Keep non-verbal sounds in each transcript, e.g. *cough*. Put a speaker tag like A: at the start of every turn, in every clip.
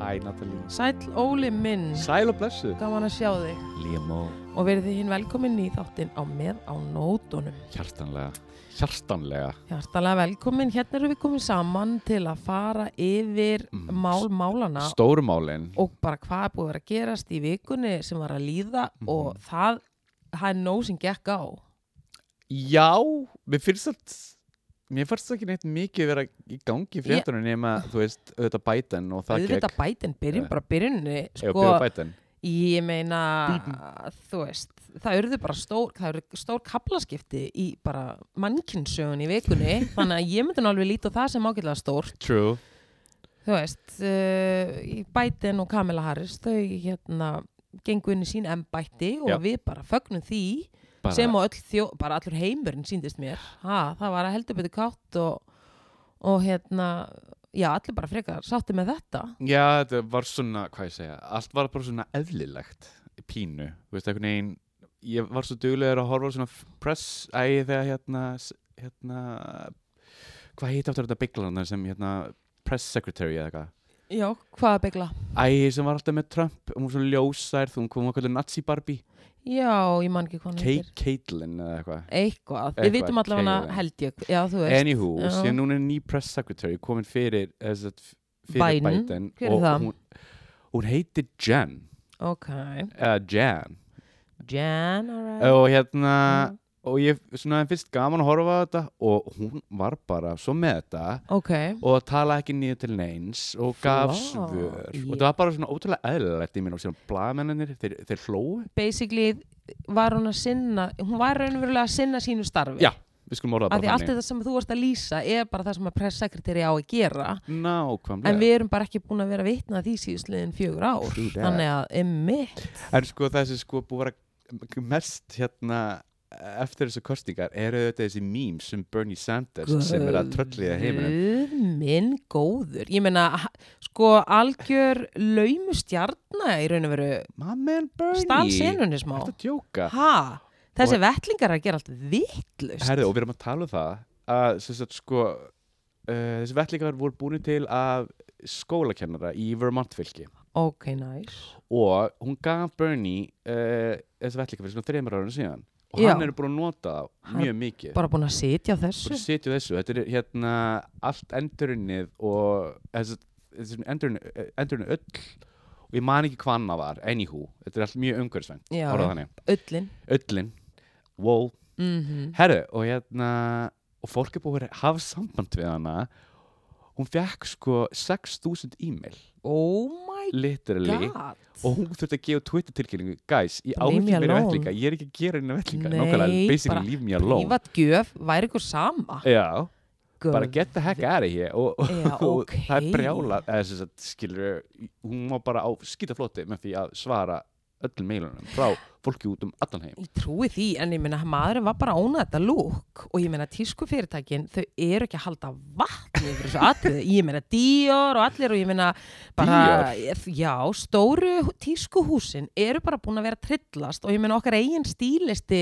A: Hæ Natalie
B: Sæll Óli minn,
A: Sæl og blessu
B: gaman að sjá þig
A: Límó
B: og verið þið hinn velkomin í þáttinn á með á nótunum.
A: Hjartanlega Hjartanlega
B: Hjartalega velkomin, hérna erum við komin saman til að fara yfir
A: Mm.
B: mál málana
A: Stórmálin
B: og bara hvað er búið að vera að gerast í vikunni sem var að líða
A: Mm.
B: og það, það er nóg sem gekk á.
A: Já Mér finnst allt Mér fannst ekki neitt mikið vera í gangi í fréttunum nema, þú veist, auðvitað Biden og það
B: Auðvitað bætin, byrjum
A: Eh.
B: bara byrjunni,
A: Ef
B: sko,
A: byrja Biden
B: ég meina, þú veist, það urðu bara stór, það urðu stór kaplaskipti í bara mannkynsögun
A: *laughs*
B: í vikunni, þannig að ég myndi nú alveg líta á það sem ágætlega stórt.
A: True
B: þú veist, uh, Biden og Kamala Harris, þau hérna gengu inn í sín embætti og
A: Já.
B: við bara fögnum því
A: bara,
B: sem og öll þjó, bara allur heimurinn síndist mér ha, það var að heldur betur kátt og, og hérna já, allir bara frekar sátti með þetta
A: Já, þetta var svona, hvað ég segja Allt var bara svona eðlilegt Pínu, þú veist, einhvern veginn Ég var svo duglegur að horfa á svona f- press Æ, þegar hérna s- Hérna Hvað heit aftur þetta bygglanar sem hérna Press secretary eða eitthvað
B: já, hvað að byggla?
A: Æ, sem var alltaf með Trump og hún var svona ljósær, þú kom okkur nazi Barbie
B: já, ég man ekki hvað hann
A: Kate Caitlin eða eitthvað
B: eitthvað,
A: Eitthvað,
B: við vitum allavega
A: Caitlyn.
B: held ég já, þú veist,
A: Anywho,
B: já.
A: síðan núna er ný press secretary komin fyrir, eh, sem sagt, fyrir
B: Biden.
A: Biden
B: Hver er
A: og
B: það?
A: hún, hún heitir Jen
B: ok
A: uh, Jan
B: Jan, Mm. alright
A: og hérna og ég svona fyrst gaman að horfa á þetta og hún var bara svo með þetta
B: ok,
A: og tala ekki nýja til neins og gaf
B: Flott,
A: svör og
B: yeah.
A: það var bara svona ótrúlega eðlilegt í mér og síðan blagamennir, þeir, þeir hlóu
B: basically var hún að sinna hún var raunverulega að sinna sínu starfi
A: Já, við skulum orða
B: að
A: það
B: því allt þetta sem þú varst að lýsa er bara það sem að presssekretari á að gera
A: Nákvæmlega
B: en við erum bara ekki búin að vera vitna að því síðustliðin fjögur ár
A: True that.
B: þannig að emmitt
A: En sko þessi sko búið að vera mest hérna eftir þessu kostingar eru auðvitað þessi mím sem Bernie Sanders sem er að trölliða heiminum
B: Guð minn góður ég meina ha- sko algjör laumustjarna í raun og veru
A: My man Bernie
B: stál senunni smá
A: Ertu að djóka?
B: ha, þessi vettlingar er að gera allt vittlust
A: Herðu og við erum að tala um það að sem sagt, sko uh, þessi vettlingar voru búin til af skólakennara í Vermont fylki
B: ok, nice
A: og hún gaf Bernie uh, þessi vettlingar fyrir svona þreymar árinu síðan og
B: Já.
A: hann er búin að nota það
B: Hann-
A: mjög mikið
B: bara búin að sitja á
A: bara
B: þessu
A: sitja á þessu, þetta er hérna allt endurunnið og eh, þessi, þessi endurunnið, eh, endurunnið öll og ég man ekki hvað annað var anywho, þetta er allt mjög umhverfisvænt
B: Já,
A: orðað
B: já.
A: þannig,
B: öllin
A: öllin wow,
B: mm
A: herru og hérna og fólk er búin að hafa samband við hana hún fekk sko 6000 e-mail,
B: oh my
A: literally
B: god
A: og hún þurfti að gefa Twitter tilkynningu guys, ég á
B: Leave
A: ekki
B: me
A: meira
B: alone.
A: vellinga, ég er ekki að gera einu vellinga
B: Nei,
A: nákvæmlega,
B: bara
A: basically leave me alone
B: Prívat gjöf væri ykkur sama
A: já
B: Guð.
A: bara get the heck out of here og, og,
B: Já,
A: og
B: ókei.
A: *laughs* það er brjála eða sem sagt, skilur, hún var bara á skítafloti með því að svara öllum meilunum frá fólki út um allan heim
B: Ég trúi því, en ég meina maðurinn var bara ánað þetta lúk og ég meina tísku fyrirtækin, þau eru ekki að halda vatn yfir þessu atriði, ég meina Dior og allir og ég meina bara, já, stóru tískuhúsin eru bara búin að vera að trillast og ég meina okkar eigin stílisti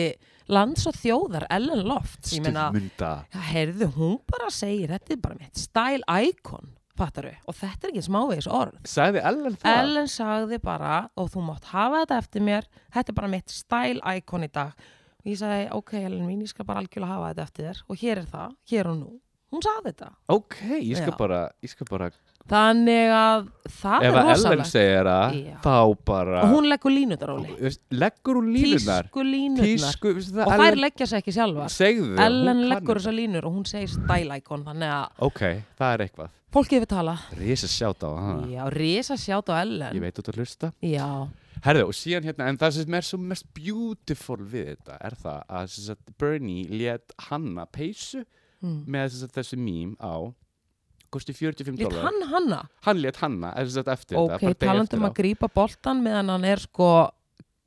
B: lands og þjóðar, Ellen Lofts, ég meina,
A: stundmunda
B: já, heyrðu, hún bara segir, þetta er bara mitt style icon, fattaru, og þetta er ekki smávegis orð.
A: sagði Ellen það
B: Ellen sagði bara og þú mátt hafa þetta eftir mér þetta er bara mitt style icon í dag og ég sagði ok Ellen mín ég skal bara algjörlega hafa þetta eftir þér og hér er það, hér og nú hún sagði þetta
A: ok, ég skal
B: Já.
A: bara, ég skal bara
B: þannig að það
A: ef
B: er
A: að Ellen
B: rosalegt
A: segir það
B: Já.
A: þá bara
B: og hún leggur línutar óli
A: Þú veist, leggur hún línunar
B: tísku línutar
A: veistu
B: og
A: það,
B: þær
A: Ellen
B: leggja sér ekki sjálfa
A: segðu þau,
B: Ellen
A: hún kann
B: leggur
A: þetta.
B: þessar línur og hún segir style icon þannig að
A: ok, það er eitthvað
B: fólkið við tala
A: risa sjátt á hana
B: já, risa sjátt á
A: Ah. ég
B: Ellen
A: veit út að hlusta
B: já,
A: Herðu, og síðan hérna, en það sem er svo mest beautiful við þetta er það að sem sagt, Bernie let hanna peysu
B: mm.
A: með sem sagt, þessu mím á kosti 45
B: lít
A: dólar.
B: hann hanna
A: Hann let hanna eða sem sagt, eftir þetta,
B: ok,
A: bara degi
B: talandum um
A: eftir
B: að grípa boltan meðan hann er sko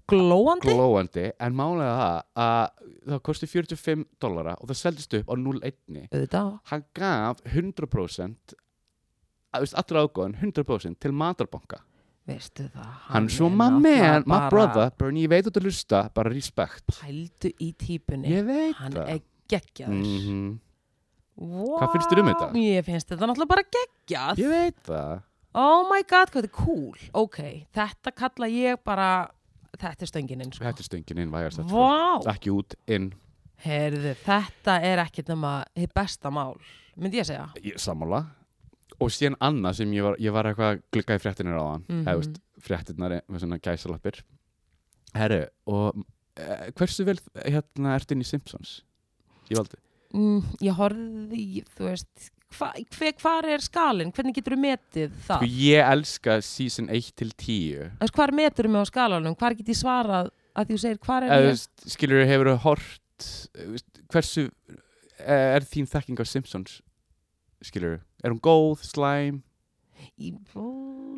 B: glóandi
A: glóandi, en málega það að það kosti 45 dólara og það seldist upp á 0,1
B: auðvitað,
A: hann gaf 100% að, þú veist, allra ágóðan 100% til matarbanka
B: veistu það
A: hann svo
B: er
A: mammi,
B: náttúrulega
A: hann- my
B: bara-
A: brother Bernie, ég veit að þú hlusta, bara respect
B: pældu í típunni
A: ég veit
B: hann
A: það
B: er geggjaður
A: Mhm.
B: wow.
A: Hvað finnst þér um þetta?
B: Ég finnst þetta náttúrulega bara geggjað
A: ég veit það
B: Oh my god, hvað þetta er cool Ok, þetta kalla ég bara þetta er stöngininn sko.
A: þetta er sko. Ah. stöngin inn vægast þetta
B: Vá,
A: ekki út, inn,
B: heyrðu, þetta er ekkert nema hitt besta mál, myndi ég segja
A: Ég- sammála og síðan annað sem ég var, ég var eitthvað að glugga í fréttinir á hann
B: Mhm.
A: eða veist, fréttinnar e- með svona gæsalappir herru, og uh, hversu vel hérna ertu inn í Simpsons? ég valdi
B: mm, Ég horfði, í- þú veist hva, hver, hvar er skalinn, hvernig getur þú metið það?
A: Sko ég elska season 1 til 10
B: Þú veist, hvar metur þú mig á skalanum, hvar get ég svarað að því þú segir hvar er
A: Eða, þú
B: ég?
A: veist, Skilur hefur þú hort e, Hversu e, er þín þekking á Simpsons? Skilur Er hún góð, slæm?
B: Ég, ó,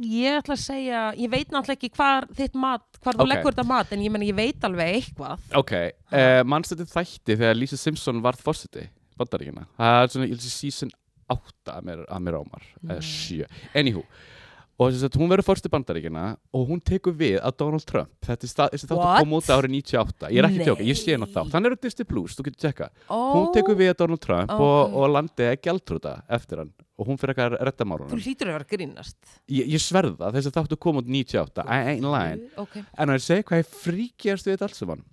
B: ég ætla að segja, ég veit náttúrulega ekki hvar þitt mat, hvar þú
A: Ok.
B: leggur þetta mat en ég menn ég veit alveg eitthvað
A: Ok, uh, mannstætti þætti þegar Lisa Simpson varð fórseti Bandaríkina Það er svona, ég lýsi season 8 að mér, að mér ámar Eða
B: Mm.
A: 7 Anywho Og þess að hún verður fórsti bandaríkina og hún tekur við að Donald Trump. Þetta er sta- þessi þátt að
B: What?
A: koma út árið 98. Ég er ekki að tjóka, ég sé hennar
B: Nei.
A: þátt. Hann er á Disney Plus, þú getur tjekka.
B: oh,
A: hún tekur við að Donald Trump
B: Ó,
A: og,
B: guð.
A: og landið er gjaldrúta eftir hann og hún fyrir eitthvað að retta
B: Þú
A: málunum
B: hlýtur að vera að grínast
A: ég, ég sverða þess að þáttu kom út 98 I ain't lying
B: Ok,
A: en að ég segi hvað ég fríkjast við þetta alls saman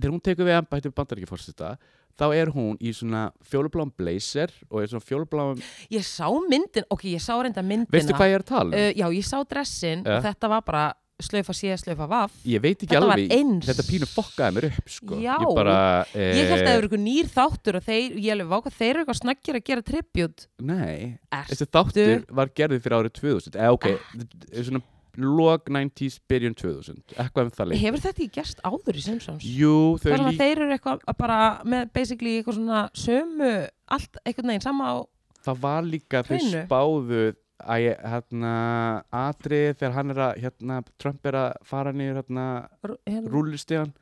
A: þegar hún tekur við embætti bandaríkjaforsita þá er hún í svona fjólubláum blazer og er svona fjólubláum
B: ég sá myndin, ok, ég sá reynda myndina
A: veistu hvað ég er að tala um?
B: Uh, já, ég sá dressin
A: Ja.
B: og þetta var bara slöfa sé, slöfa vaff.
A: ég veit ekki
B: þetta var
A: alveg
B: eins.
A: þetta pínu fokkaði mér upp sko
B: Já.
A: ég bara eh,
B: Ég held að það eru eitthvað nýr þáttur og þeir, ég alveg váka, þeir eru eitthvað snakkir að gera tribut.
A: nei
B: Er,
A: þessi þáttur var gerðið fyrir árið 2000 eða ok
B: Ah.
A: svona log 90s byrjun 2000 eitthvað um það lengi
B: hefur þetta ekki gerst áður í Simpsons?
A: Jú, þau
B: Það er svona
A: líka,
B: þeir eru eitthvað að bara með basically eitthvað svona sömu, allt einhvern veginn sama á,
A: það var líka þau
B: Hreinu.
A: spáðu að ég, hérna, atrið þegar hann er að, hérna, Trump er að fara niður, hérna,
B: rú- hérna.
A: rúlistegan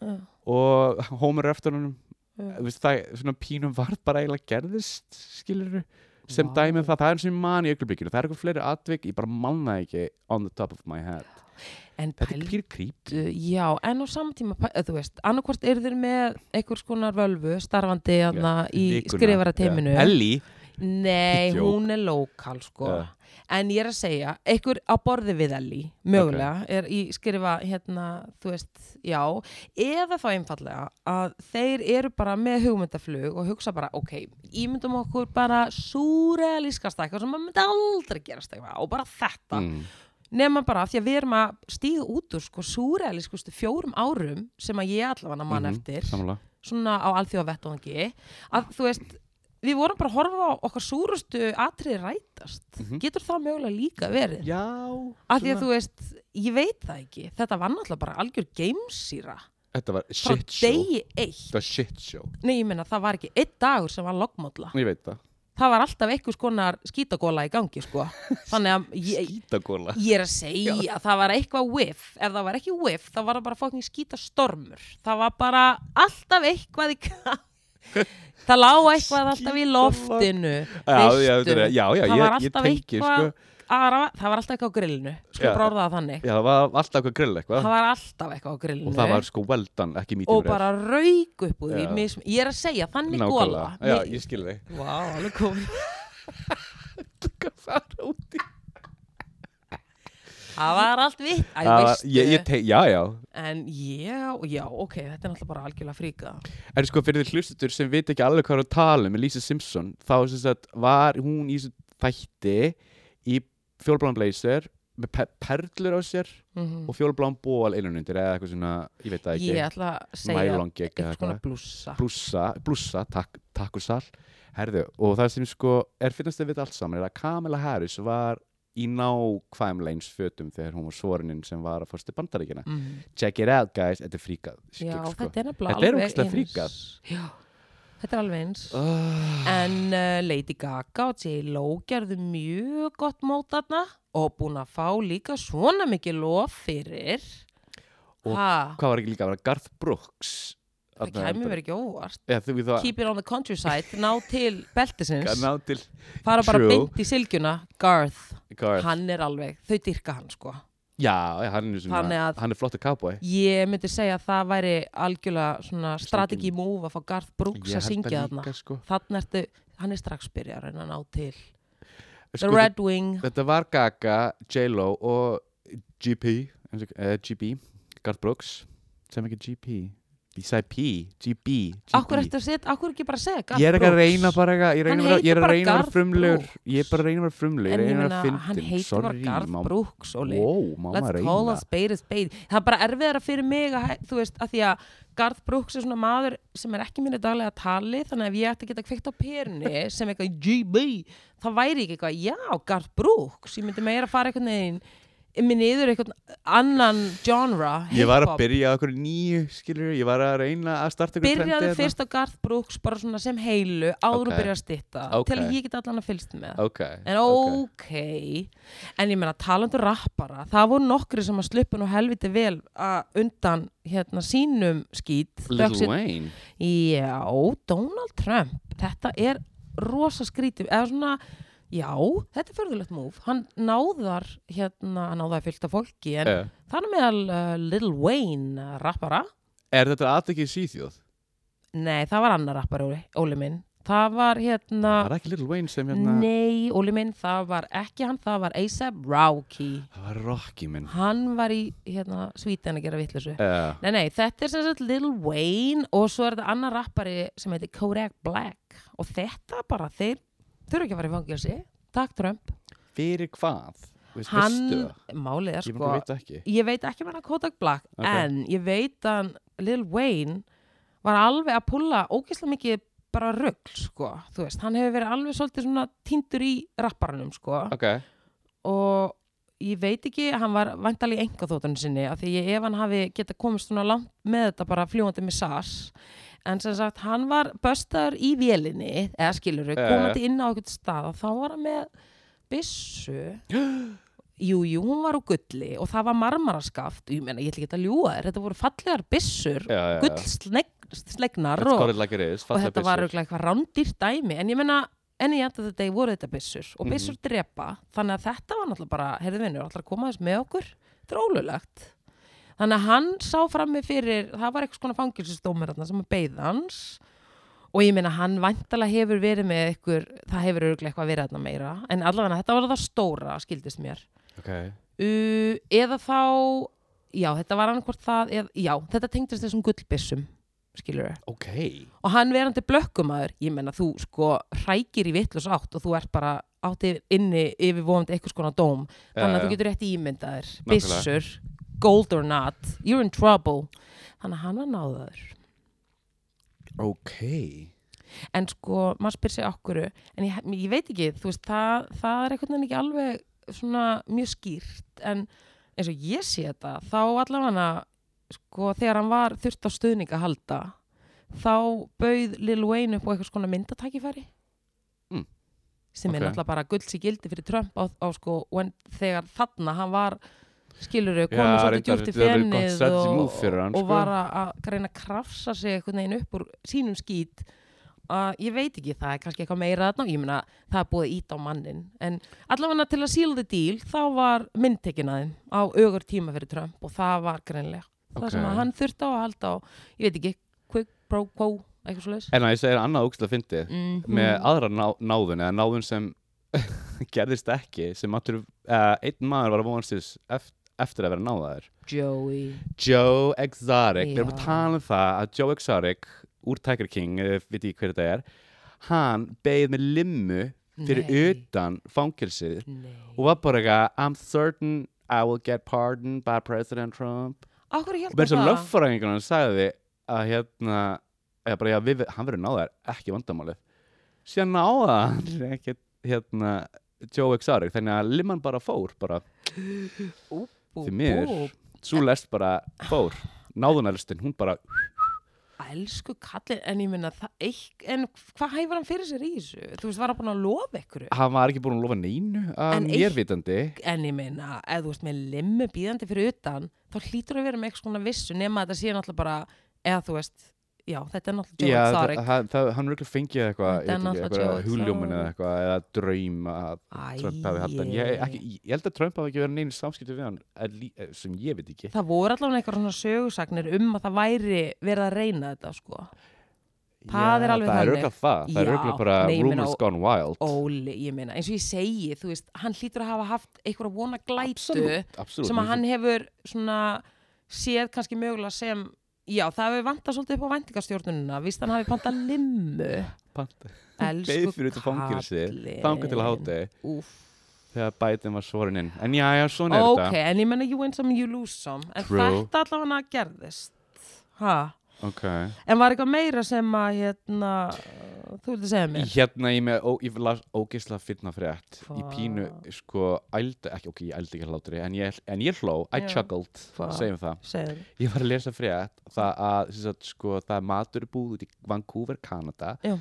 B: Já,
A: og Homer er eftir honum,
B: já.
A: Þú veist, það, svona pínum var bara eiginlega gerðist, skilur sem
B: Vá.
A: dæmið það, það er eins og ég man í augnablikinu, það er eitthvað fleiri atvik, ég bara manna ekki on the top of my head.
B: En
A: Þetta er
B: pældu,
A: pýr creepy.
B: já, en á samtíma, pæ- eða þú veist, annarkvort eru þeir með einhvers konar völvu starfandi hana í
A: Vikuna,
B: skrifarateiminu.
A: já. Ellie,
B: Nei,
A: Jók.
B: hún er lokal sko
A: Ja.
B: En ég er að segja, einhver á borði við Ellie Mögulega, er í skrifa hérna, þú veist, já Eða þá einfallega að þeir eru bara með hugmyndaflug Og hugsa bara, ok, ímyndum okkur bara Súrealískasta eitthvað sem maður myndi aldrei gerast eitthvað Og bara þetta
A: mm,
B: nema bara af því að við erum að stíða út úr sko súrealískustu fjórum árum sem að ég allavega mann
A: Mhm,
B: eftir
A: sammála.
B: svona á alþjóða vettvangi að þú veist, við vorum bara að horfa á okkar súrustu atriði rætast
A: Mhm.
B: getur það mögulega líka verið
A: Já.
B: af því að
A: svona-
B: þú veist, ég veit það ekki þetta var náttúrulega bara algjör geimsýra
A: Þetta var
B: frá
A: shit show.
B: degi eitt
A: Þetta var shit show.
B: nei, ég meina, það var ekki einn dagur sem var lognmólla
A: Ég veit það.
B: það var alltaf einhvers konar skítagóla í gangi sko.
A: *laughs*
B: þannig að ég,
A: Skítagóla.
B: ég er að segja það var eitthvað whiff, ef það var ekki whiff þá var það bara fókning skítastormur það var bara alltaf eitthvað í
A: *laughs*
B: ga- það lá eitthvað alltaf í loftinu
A: Já, já,
B: veistu.
A: þetta er- já, já,
B: það
A: ég-
B: var
A: ég
B: alltaf
A: tengi,
B: eitthvað
A: sko.
B: aðra, það var alltaf eitthvað á grillinu sko
A: Já.
B: bráðaða þannig,
A: Já, það var alltaf eitthvað grill eitthvað
B: það var alltaf eitthvað á grillinu
A: og það var sko well done, ekki mítið
B: og bara rauk upp úr því
A: Já.
B: mis, ég er að segja, þannig
A: Nákvæmlega,
B: góla
A: já, ég skil *laughs* þig
B: Vá, alveg komið
A: Líka fara út í
B: Það var allt vitt, æ, veistu
A: ég, ég te- Já, já,
B: En já, já, ok, þetta er náttúrulega bara algjörlega fríka
A: en sko fyrir því hlustutur sem veit ekki alveg hvað er að tala um með Lisa Simpson, þá sem sagt var hún í þessu þætti í fjólblán blazer með pe perlur á sér
B: mm
A: og fjólblán ból innunundir eða eitthvað svona, ég veit það ekki
B: Ég ætla að segja
A: mælongi eitthvað,
B: einhvers konar
A: eitthvað.
B: blússa
A: blússa, blússa, tak, takusal herðu, og það sem sko er finnast að við allt saman er að Kamala Harris var í nákvæm leins fötum þegar hún var svorininn sem var að fórstu bandaríkina
B: mm.
A: check it out guys, þetta er fríkað
B: Já,
A: skikk, sko.
B: þetta er nefnilega
A: Þetta er
B: alveg
A: ógeðslega
B: eins.
A: fríkað.
B: Já, þetta er alveg eins
A: Ah,
B: En uh, Lady Gaga og J.Lo gerðu mjög gott mót þarna og búin að fá líka svona mikið lof fyrir
A: Og
B: ha,
A: hvað var ekki líka að vera Garth Brooks
B: það kæmi mér ekki óvart
A: eða þú við það
B: keep it on the countryside, ná
A: *laughs*
B: til beltisins
A: ná til
B: fara bara
A: True.
B: beint í sylgjuna Garth,
A: Garth.
B: hann er alveg þau dyrka hann sko
A: já, já, hann er, svona,
B: Þannig að-
A: hann er flottur cowboy
B: ég myndi segja að það væri algjörlega svona strategi move að fá Garth Brooks að syngja þarna
A: líka, sko.
B: þannig ertu, hann er strax byrjar en hann á til The
A: Sko,
B: Red Wing,
A: þetta var Gaga, J-Lo og GP uh, GB, Garth Brooks sem ekki GP Bísæ P, GB, GB
B: akkur eftir að setja akkur ekki bara að segja Garth
A: Ég er ekki að
B: Brooks?
A: reyna bara eitthvað- Ég er að
B: Hann
A: reyna bara- ég er
B: heitir
A: að
B: bara
A: reyna að vera
B: Garth
A: frumlegur
B: Brooks.
A: Ég er bara að reyna að vera frumlegur Ég
B: en
A: er
B: ég
A: að reyna
B: meina
A: að fyndin
B: hann heitir bara
A: Sorry,
B: Garth
A: má-
B: Brooks Óli.
A: Wow, má
B: let's
A: maður
B: call
A: reyna
B: a spade a spade það er bara erfiðara fyrir mig að, hæ- þú veist, að því að Garth Brooks er svona maður sem er ekki mínu daglega tali þannig að ef ég ætti að geta kveikt á perunni
A: *laughs*
B: sem eitthvað GB þá væri ekki eitthvað, já, Garth Brooks ég myndi meira að fara eitthvað neginn minn yfir eitthvað annan genre
A: Ég var að
B: hip-hop.
A: byrja á okkur nýju skilur Ég var að reyna að starta hérna. okkur
B: byrjaði fyrst á Garth Brooks bara svona sem heilu áður
A: Ok.
B: okay. byrja að stitta
A: Ok.
B: til að ég get allan að fylgst með
A: Ok,
B: En
A: ok.
B: ok, en ég meina talandur rappara, það voru nokkri sem að sluppa nú helviti vel að undan hérna sínum skýt.
A: Little Wayne
B: Já, Donald Trump, þetta er rosa skrítið, eða svona, já, þetta er förðulegt múf, hann náðar hérna, hann náðar fyllt af fólki, en
A: Eh,
B: þar á meðal uh, Lil Wayne uh, rappara,
A: Er þetta aðtekið síþjóð?
B: nei, það var annar rappari, Óli, Óli minn, það var hérna...
A: Var ekki Little Wayne sem hérna
B: Nei, Óli minn, það var ekki hann, það var A$AP Rocky.
A: Það var Rocky minn
B: hann var í hérna, svítan að gera vitleysu
A: uh,
B: nei, nei, þetta er sem sagt Lil Wayne og svo er þetta annar rappari sem heitir Kodak Black og þetta bara, þeir þurfa ekki að fara í fangelsi takk Trump,
A: Fyrir hvað? Veist,
B: hann
A: Veistu það?
B: málið er
A: Ég
B: sko,
A: bara veit það ekki
B: ég veit ekki með hann Kodak Black
A: Ok.
B: en ég veit að hann Lil Wayne var alveg að pulla ógeðslega mikið bara rögl sko, þú veist, hann hefur verið alveg svolítið svona tindur í rapparanum sko
A: Ok,
B: og ég veit ekki, hann var vantalega í enga þóttunum sinni af því ég, ef hann hafi geta komist svona langt með þetta bara fljúandi með SAS en sem sagt, hann var böstaður í vélinni, eða skilur
A: Eh.
B: komandi inn á eitthvað stað og þá var hann með
A: *gasps*
B: byssu jú, jú, hún var úr gulli og það var marmaraskaft, ég meina, ég ætla ekki að ljúga þér þetta voru fallegar byssur
A: já, já, já.
B: gullslegnar
A: Let's
B: og,
A: call it like it is
B: og
A: fallegar
B: þetta var
A: byssur.
B: örugglega eitthvað rándýrt dæmi en ég menna, enn í enda þetta voru þetta byssur og
A: Mhm.
B: byssur drepa þannig að þetta var náttúrulega bara, heyrðu vinnur, alltaf að koma þess með okkur þetta er ólulegt þannig að hann sá frammi fyrir það var eitthvað svona fangilsistómur þarna sem að beið hans og ég meina hann vantala hefur verið með ykkur það hefur örugglega eitthvað verið þarna meira en allavega þetta var það stóra, skildist mér
A: Ok
B: uh, eða þá já, þetta var annarkvort það eð, já, þetta tengdist þessum gullbissum skilur
A: Ok
B: og hann verandi blökkumæður ég menna þú sko hrækir í vitlus átt og þú ert bara átti inni yfir vonandi eitthvað skona dóm þannig að þú getur rétt ímyndaðir
A: Nákvæmlega.
B: byssur, gold or not you're in trouble þannig að hann var náðaður
A: Ok
B: en sko maður spyr sig okkur en ég, ég veit ekki, þú veist það, það er einhvern veginn ekki alveg svona mjög skýrt en eins og ég sé þetta þá allavega sko þegar hann var þurft á stuðning að halda þá bauð Lil Wayne upp á eitthvað skona myndatækifæri
A: Mm.
B: sem
A: Ok.
B: er náttúrulega bara gulds í gildi fyrir Trump á, á sko, en þegar þarna hann var skiluru, komið
A: Já,
B: svolítið
A: reyndar,
B: djúpt í
A: þetta er alveg gott
B: fennið
A: strategy
B: og,
A: move fyrir hann,
B: og
A: sko.
B: var að- að reyna að krafsa sig einhvern veginn upp úr sínum skít að ég veit ekki, það er kannski eitthvað meira þarna, ég meina það er búið að íta á mannin en allavega til að síla þið díl þá var myndtekin að þeim á ögur tíma fyrir Trump og það var greinlega
A: Ok.
B: það sem að hann þurfti á að halda á ég veit ekki, quick pro quo eitthvað svo leis
A: En að ég segir annað ógstlega fyndið
B: mm
A: Með aðra ná, náðun eða náðun sem *laughs* gerðist ekki sem allir, uh, einn maður var að vonast þess eft, eftir að vera náðaður
B: Joey
A: Joe Exotic, við erum að
B: Já.
A: tala um það að Joe Exotic úr Tiger King, eh, veit ég hver þetta er hann beigð með limmu fyrir
B: Nei.
A: utan fangilsið
B: Nei
A: og var bara eitthvað I'm certain I will get pardoned by President Trump
B: Akkur
A: og
B: hjálpa
A: með þess að
B: það
A: löffræðingur hann sagði að hérna eða bara, já, við, hann verður náðar, ekki vandamálið síðan náða hann ekki hérna Joe Exotic þannig að limman bara fór bara,
B: Bú,
A: því miður.
B: bú.
A: svo lest bara fór náðunarlistin, hún bara
B: Elsku kallin, en ég minna það eik, en hvað hæfur hann fyrir sér í þessu? Þú veist, var hann búin að lofa ykkur?
A: hann var ekki búin að lofa neinu að
B: En
A: mér
B: eitt-
A: vitandi
B: en ég meina, ef þú veist með limmu býðandi fyrir utan, þá hlýtur að vera með eitthvað svona vissu nema að þetta sé náttúrulega bara, eða þú veist já, þetta er náttúrulega
A: Já,
B: Joe
A: það,
B: Exotic.
A: það, það, hann röglega fengið eitthvað,
B: Þetta er
A: ég veit ekki,
B: náttúrulega
A: eitthvað
B: Joe
A: hugljómin eða
B: Exotic.
A: eitthvað, eða draum að Trump hafi haft hann. Ég,
B: Æi.
A: ekki, ég held að Trump hafi ekki verið neynir samskipti við hann, en lí- eh, sem ég veit ekki.
B: Það voru allavega eitthvað svona sögursagnir um að það væri verið að reyna þetta sko. Það
A: Já,
B: er alveg
A: Það er
B: þannig.
A: röglega það, það er
B: Já,
A: röglega bara
B: nei, ég meina
A: rumors
B: og-
A: gone wild.
B: Óli, ég meina, eins og ég segi, þú veist, hann hlýtur að hafa haft einhverja vona glætu
A: Absolutt, absolutt.
B: sem að hann hefur svona séð kannski mögulega sem, já, það hefur vantað svolítið upp á væntingastjórnununa, víst hann hafi pantað limmu.
A: Panta-
B: Elsku
A: *laughs* beið fyrir þetta fangelsi,
B: kallinn.
A: þangað til að háti
B: Úff.
A: þegar Biden var svorin inn. En já, já, svona er
B: Ok,
A: þetta.
B: en ég meina you win some, you lose some. En
A: True.
B: þetta allavega gerðist. Ha?
A: Ok.
B: En var eitthvað meira sem að, hérna, uh, þú vildi segja mér?
A: Hérna ég með, ó, ég las ógeðslega fyrna frétt. Í pínu,
B: Hva?
A: sko, ældi, ekki, ok, ég ældi ekki hlátri, en ég, en ég hló, I
B: Já.
A: chuckled,
B: Hva?
A: segjum það.
B: Segðu mér.
A: Ég var að lesa frétt það að, sem sagt, sko, það er maturubúð út í Vancouver, Kanada
B: Já.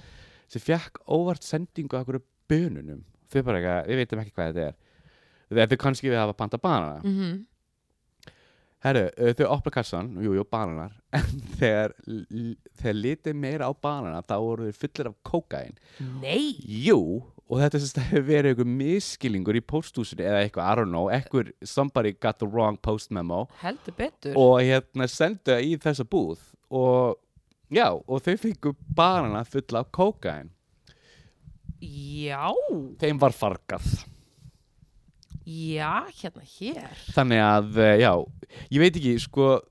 A: sem fekk óvart sendingu af hverju bönunum. Þau bara eitthvað, við veitum ekki hvað þetta er. Þegar þau kannski við hafa panta banana.
B: Mm
A: Herru, uh, þau opna kassan, jú, jú, bananar, *laughs* en þegar, l- þegar litið meira á banana þá voru þau fullir af kókain.
B: Nei!
A: Jú, og þetta sem sagt *laughs* hefur verið einhver miskilingur í posthúsinu eða eitthvað, I don't know, eitthvað, somebody got the wrong post memo
B: Heldur betur.
A: og hérna sendu það í þessa búð og já, og þau fengu banana fulla af kókain.
B: Já,
A: Þeim var fargað.
B: já, hérna hér.
A: Þannig að, eh, já, ég veit ekki, sko,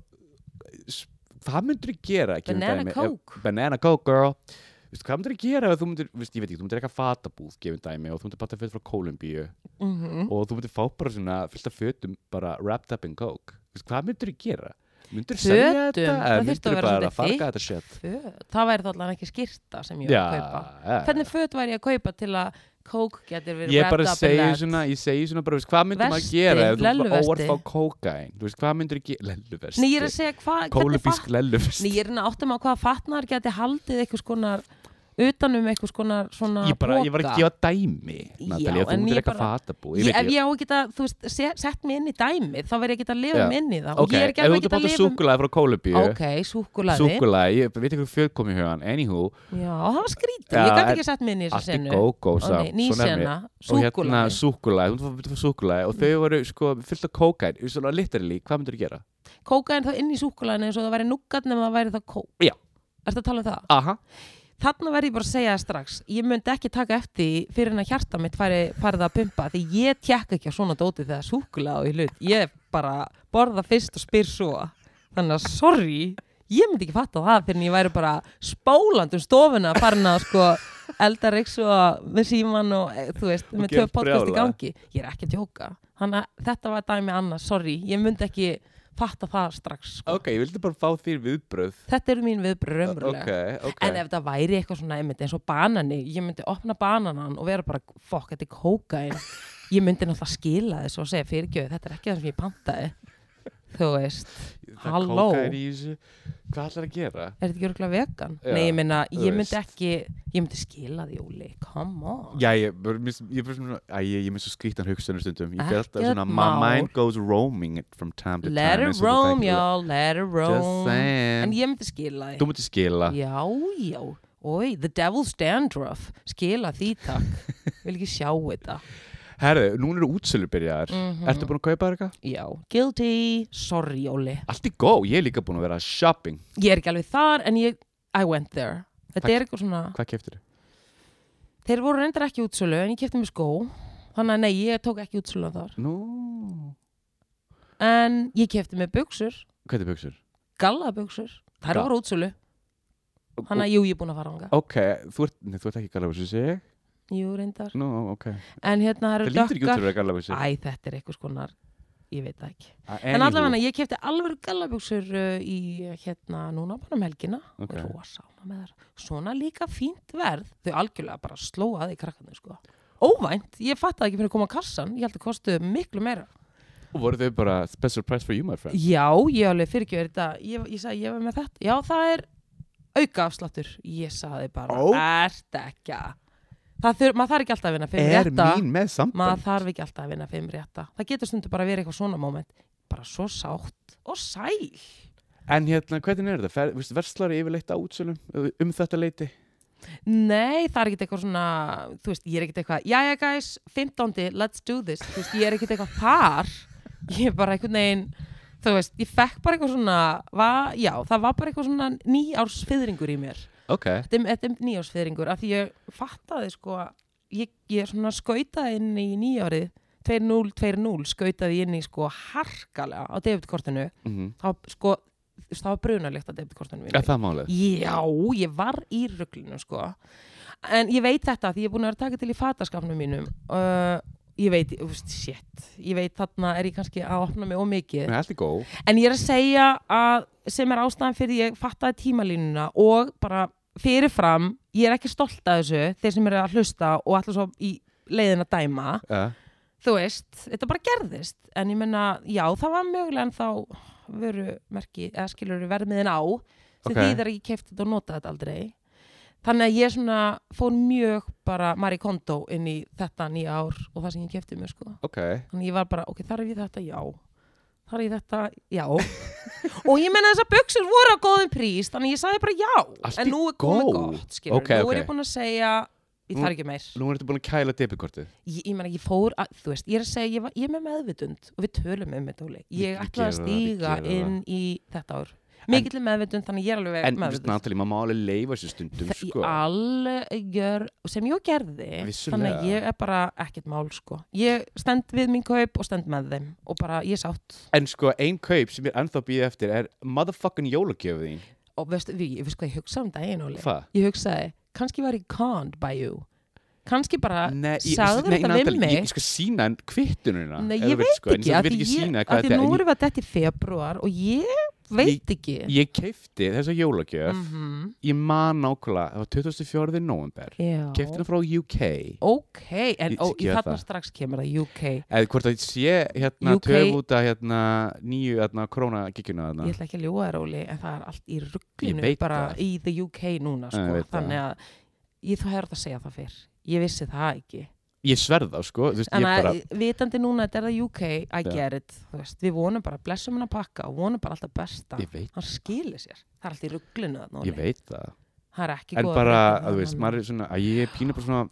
A: s- hvað myndur þú gera? gefum
B: Banana
A: dæmi, ef-
B: Coke.
A: Banana Coke, girl. Vistu, hvað myndur þú gera ef þú myndir, vistu, ég veit ekki, þú myndir eitthvað fatabúð, gefum dæmi, og þú myndir bara fyrir frá Kolumbíu
B: Mm
A: og þú myndir fá bara svona fyllt af fötum bara wrapped up in coke. Vistu, hvað myndur þú gera? Myndur þú selja
B: Fötum?
A: þetta?
B: Það
A: eða
B: þyrfti að
A: myndirðu
B: vera
A: bara
B: svolítið
A: farga
B: þykkt.
A: þetta shit?
B: Það væri þá allan ekki skýrta sem ég var að kaupa.
A: Já,
B: Hvernig föt væri ég að kaupa til að kók getur
A: Eh.
B: verið
A: Ég bara
B: wrapped up in
A: segi
B: that?
A: svona, ég segi svona bara, veist, hvað myndir maður
B: Vesti,
A: gera ef þú myndir
B: lelluvesti.
A: óvart fá kókain? Þú veist, hvað myndir þú gera? Lelluvesti.
B: Nei, ég er að segja hvað, hvernig fatt...
A: Kólubísk lelluvesti.
B: Nei, ég er að áttum á hvaða fatnar geti haldið einhvers konar utanum einhvers konar svona
A: ég, bara, ég var ekki að
B: poka.
A: gefa dæmi Natalia, þú
B: en
A: myndir
B: ég
A: eitthvað
B: bara-
A: fatabú
B: Ég, ef ég á ekki að, þú veist, se- sett mér inn í dæmi þá verð ég ekki að lifa
A: Já.
B: mig inn í það
A: ok,
B: og ég er
A: ef
B: ekki
A: þú
B: alveg
A: ert að
B: að
A: bóta
B: lifa
A: súkulaði frá Kólubíu
B: ok, súkulaði
A: súkulaði, ég veit ekki hvað fjöð kom í hugan anywho,
B: já, það var skrítið,
A: Já,
B: ég gæti
A: en-
B: ekki sett mér inn í þessu
A: allt í
B: senu
A: gógó
B: Ó, nei, ný sena,
A: og hérna
B: súkulaði
A: súkulaði, þú myndir að fá súkulaði og þau
B: Mm.
A: voru sko fullt af kókain, svona literally hvað myndir þú gera?
B: kókaðin þá inn í súkulaðinu eins og það væri núgat nema það væri það kók
A: Já.
B: Ertu að tala um það?
A: Aha,
B: Þarna verði ég bara að segja það strax Ég myndi ekki taka eftir því fyrir en að hjarta mitt færi, farið að pumpa því ég tek ekki á svona dóti þegar súkulega á í hlut Ég bara borða fyrst og spyr svo Þannig að sorry Ég myndi ekki fatta það fyrir en ég væri bara spólandi um stofuna farin að sko elda reyks og með síman og eh, þú veist,
A: Og
B: með tvö
A: gerð
B: podcast í
A: brjálaða.
B: gangi Ég er ekki að djóka Þannig að þetta var dæmi annars, sorry Ég myndi ekki fatta það strax sko.
A: ok, ég vildi bara fá þér viðbröð
B: Þetta eru mín viðbröð raumurlega
A: ok, ok
B: En ef það væri eitthvað svona einmitt eins og banani, ég myndi opna bananan og vera bara, fokk, þetta er kókain. Ég myndi náttúrulega skila þessu og segja fyrirgjöðu, þetta er ekki það sem ég pantaði. Þú veist,
A: Það er
B: halló.
A: kókaín í þessu. hvað ætlar að gera?
B: er þetta ekki örgulega vegan?
A: Já,
B: Nei, ég meina,
A: þú
B: ég myndi
A: veist.
B: ekki, ég myndi skila því, Óli, come on.
A: Já, ég, bara- mér- ég, bara svona- æ, ég, ég minn svo skrítan hugsunum stundum Ég fyrir alltaf
B: Ekkert
A: svona My mind
B: mál.
A: goes roaming from time to
B: let
A: time
B: it
A: eins og þú
B: roam,
A: þekkir.
B: y'all, let it
A: Just
B: roam. En
A: saying
B: ég myndi skila
A: Þú
B: því.
A: mútti skila
B: Já, já, oi, the devil's dandruff, skila því
A: *laughs*
B: takk. Vil ekki sjá þetta. Mhm.
A: Herðu, núna eru útsölu byrjaðar Ertu búin að kaupa þér eitthvað?
B: Já, guilty, sorry, Óli.
A: Allt í góð, ég er líka búin að vera shopping
B: ég er ekki alveg þar en ég, I went there þetta
A: Hvað-
B: er eitthvað svona,
A: Hvað keftir þér?
B: þeir voru reyndar ekki útsölu en ég kefti mér skó þannig að nei, ég tók ekki útsölu þar
A: Nú,
B: en ég kefti mér buksur,
A: hvað er buksur?
B: gallabuksur þær
A: Ga-
B: voru útsölu, þannig að jú, ég er búin að fara hanga
A: Ok, þú ert, nei, þú ert ekki galabusur, sé ég?
B: jú, reyndar,
A: Nú, ok
B: en hérna það
A: Það
B: eru
A: lítur ekki út
B: dökkar
A: fyrir að vera galabusur
B: æ, þetta er eitthvað skonar ég veit það ekki, en allavega ég kefti alveg gallabuksur uh, í hérna núna bara um helgina
A: Ok.
B: okay. rosána með þar, svona líka fínt verð þau algjörlega bara slóaði krakkarnir sko óvænt, ég fattaði ekki fyrir að koma á kassan ég held að kostuðu miklu meira
A: Voru þau bara special price for you, my friend?
B: já, ég alveg fyrirgjöður þetta ég, ég sagði ég var með þetta, já það er auka afsláttur, ég sagði bara
A: Ó.
B: ert ekki að það þur, maður þarf ekki alltaf að vinna fimm
A: Er
B: rétta
A: mín með
B: maður
A: samband?
B: þarf ekki alltaf að vinna fimm rétta það getur stundu bara verið eitthvað svona moment bara svo sátt og sæl
A: En hérna, hvernig er þetta? Fer, veist, verslar yfirleitt á útsölum uh, um þetta leiti?
B: Nei, það er ekkert eitthvað svona, þú veist, ég er ekkert eitthvað, jæja guys, 15. let's do this, þú veist, ég er ekkert eitthvað þar, ég er bara einhvern veginn, þú veist, ég fekk bara eitthvað svona, va, já, það var bara eitthvað svona nýjársfiðringur í mér,
A: Ok,
B: þetta er- þetta er nýjársfiðringur, af því ég fattaði sko, að ég, ég svona skautaði inn í nýjárið, 2-0, 2-0, skautaði inn í sko harkalega á debitkortinu,
A: mm
B: þá sko, þú veist, það var brunalegt á debitkortinu mínu.
A: er það málið?
B: Já, ég var í ruglunum sko En ég veit þetta því ég er búin að vera að taka til í fataskafnum mínum uh, Ég veit, úst, shit Ég veit þarna er ég kannski að opna mig ómikið
A: Nei, allt er góð.
B: En ég er að segja að sem er ástæðan fyrir ég fattaði tímalínuna og bara fyrirfram ég er ekki stolt að þessu þeir sem eru að hlusta og allir svo í leiðin að dæma
A: Uh,
B: þú veist, þetta bara gerðist en ég menna, já, það var mögulega en þá veru merki, eða skilur verðmiðin á, sem
A: Ok.
B: okay. þýðar að ég kefti þetta og nota þetta aldrei þannig að ég svona fór mjög bara Marie Kondo inn í þetta nýja ár og það sem ég kefti mér sko
A: ok,
B: þannig að ég var bara, ok, þar er ég þetta, já þar er ég þetta,
A: *laughs*
B: já og ég menna þessar buksur voru á góðum prís þannig að ég sagði bara já
A: Allt í
B: en nú er komið
A: góð.
B: gott, skilur,
A: Ok,
B: nú
A: ok.
B: er ég búin að segja ég
A: Nú-
B: þarf ekki meir
A: nú er þetta búin að kæla debitkortið.
B: ég, ég meina, ég fór að, þú veist, ég er að segja, ég, var, ég er með meðvitund og við tölum um þetta, Óli.
A: Við-
B: Ég
A: við
B: ætla að
A: gerum það, við
B: stíga
A: gerum það.
B: inn í þetta ár. Mikill meðvitund, þannig ég er alveg
A: En, veist,
B: meðvitund.
A: Natalie, maður má alveg leifa sér stundum,
B: Það í
A: sko.
B: algjör, sem ég gerði, þannig
A: Vissulega.
B: að ég er bara ekkert mál, sko. Ég stend við mín kaup og stend með þeim og bara, ég er sátt.
A: En sko, ein kaup sem ég er ennþá býð eftir er motherfucking jólagjöfið þín.
B: Og veist, við, ég veist hvað ég hugsaði um daginn, Óli.
A: Hvað?
B: Ég hugsaði, kannski var ég conned by you. Kannski bara,
A: Nei, ég-
B: sagði
A: nei,
B: þetta við
A: Natalie,
B: mig.
A: Ég, ég skal sína hann kvittununa.
B: Nei,
A: ef
B: ég
A: þú vilt,
B: veit
A: sko, en
B: ekki,
A: ég
B: af
A: vil
B: því
A: ekki
B: ég-
A: sýna
B: af
A: hvað
B: því
A: þetta er.
B: nú
A: En ég-
B: erum við að þetta í februar og ég veit ekki.
A: Ég keipti þessa jólagjöf,
B: Mhm,
A: ég man nákvæmlega, það var 24. november,
B: já.
A: keipti hana frá UK.
B: Ok, en
A: Ég-
B: ó,
A: ég
B: í
A: gef
B: þarna
A: það.
B: strax kemur það UK.
A: Eða hvort að sé hérna
B: UK
A: töfum út að hérna nýju hérna krónagikkjuna
B: Ég
A: þarna.
B: ætla ekki að ljúa þér, Óli, en það er allt í rugglinu
A: veit
B: bara
A: það.
B: í the UK núna,
A: Já, ég
B: sko.
A: veit það.
B: Þannig að ég þú hefur þetta að segja það fyrr. Ég vissi það ekki.
A: Ég sverð þá sko, þú veist, ég
B: En að
A: bara,
B: vitandi núna að þetta er það UK, I
A: Já.
B: get it. Þú veist, við vonum bara, blessum hann að pakka og vonum bara alltaf besta.
A: ég veit,
B: Hann skilir sér. Það er allt í rugglinu þarna,
A: ég
B: Óli.
A: veit það.
B: Það er ekki
A: En
B: góð
A: bara, þú veist, maður er svona, að ég er pínu bara svona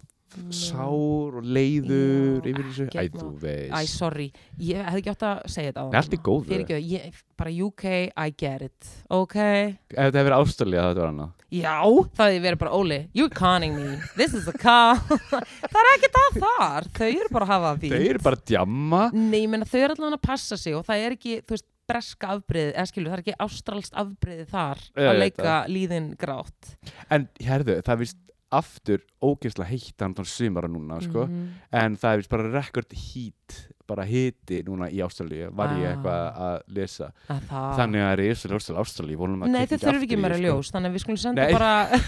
A: sár og leiður
B: Mm. Já,
A: yfir þessu. Æ,
B: ekkert
A: þú
B: mál. Æ,
A: veist.
B: sorry, ég hefði ekki átt að segja þetta á
A: Nei, allt í góðu.
B: Fyrirgjöðu, ég, bara UK, I get it, ok?
A: Ef þetta hefur verið ástæðlega þetta var annað.
B: Já, það hefði verið bara, Óli, you're conning me, this is a car. *laughs* það er ekki það þar, þau eru bara að hafa það
A: Þau
B: fínt.
A: eru bara að djamma.
B: Nei, ég meina, þau eru allan að passa sig og það er ekki, þú veist, breska afbreiði, eða skilur, það er ekki ástralst afbreiði þar
A: Ég
B: að
A: veit
B: leika líðin grátt.
A: En herðu, það er vist aftur ógeðslega heitt andan sumara núna, sko.
B: Mhm.
A: En það er vist bara rekord hít, bara hiti núna í Ástralíu, var ég
B: Ah.
A: eitthvað að lesa.
B: Að það...
A: Þannig að það er íslega ástæðlega Ástralíu, vonum að
B: Ah. Nei,
A: kveikja
B: þau þurfum
A: aftur
B: ekki
A: í,
B: meira
A: sko.
B: ljós, þannig að við skulum senda
A: Nei.
B: bara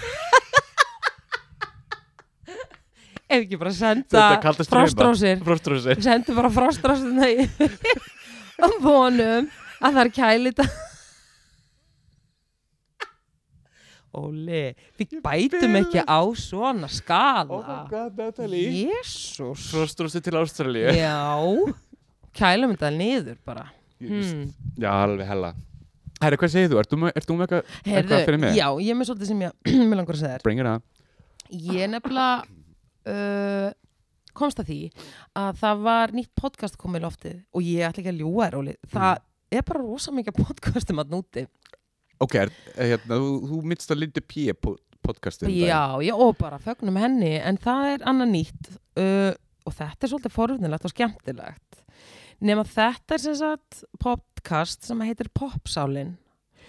A: *laughs*
B: Ef ekki bara
A: Þetta
B: senda
A: kaldast
B: frostrásir *laughs*
A: Frostrásir.
B: Sendu bara frostrásirna í *laughs* og vonum að það er kælita Óli, við bætum ekki á svona skala
A: Oh god, Natalie.
B: Jésús
A: Frostrásir til Ástralíu.
B: Já Kælum þetta niður bara
A: Hmm.
B: hmm.
A: Já, alveg hella. Herra, hvað segir þú? Ert þú með, ert þú með eitthvað, eitthvað fyrir mig?
B: já, ég er með svolítið sem ég *clears throat* mér langar að segja þér
A: Bring it on.
B: Ég nefnilega uh, komst að því að það var nýtt podcast komið í loftið og ég ætla ekki að ljúga þér, Óli. Það er bara rosa mikið um podcastum að núti.
A: Ok, er, hérna, þú, þú mittst að Lindu P. um podcastin.
B: Já, já, og bara fögnum henni, en það er annað nýtt uh, og þetta er svolítið forvitnilegt og skemmtilegt. Nefn að þetta er sem sagt podcast sem heitir Popsálin.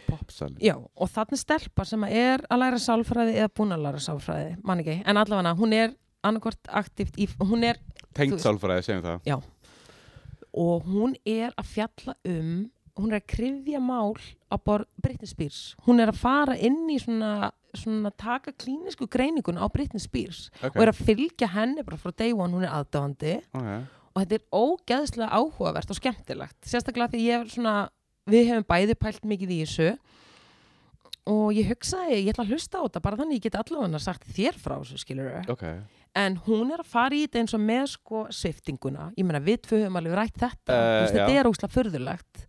A: Popsalin.
B: Já, og þarna er stelpa sem er að læra sálfræði eða búin að læra sálfræði, man ekki. En allavega hún er annarkvort aktivt í, hún er
A: Tengt
B: Þú-
A: sálfræði, segjum það.
B: og hún er að fjalla um hún er að krifja mál á borð Britney Spears hún er að fara inn í svona, svona taka klínisku greiningun á Britney Spears
A: Ok.
B: og er að fylgja henni bara frá day one, hún er aðdóðandi
A: okay.
B: og þetta er ógeðslega áhugavert og skemmtilegt sérstaklega því ég er svona við hefum bæði pælt mikið í þessu og ég hugsaði ég ætla að hlusta á þetta bara þannig ég get allavega sagt þér frá þessu skilur
A: ok,
B: en hún er að fara í þetta eins og með sko sviftinguna, ég meina við tvö höfum alveg rætt þetta,
A: Eh,
B: þú veist,
A: já.
B: þetta er óslega furðulegt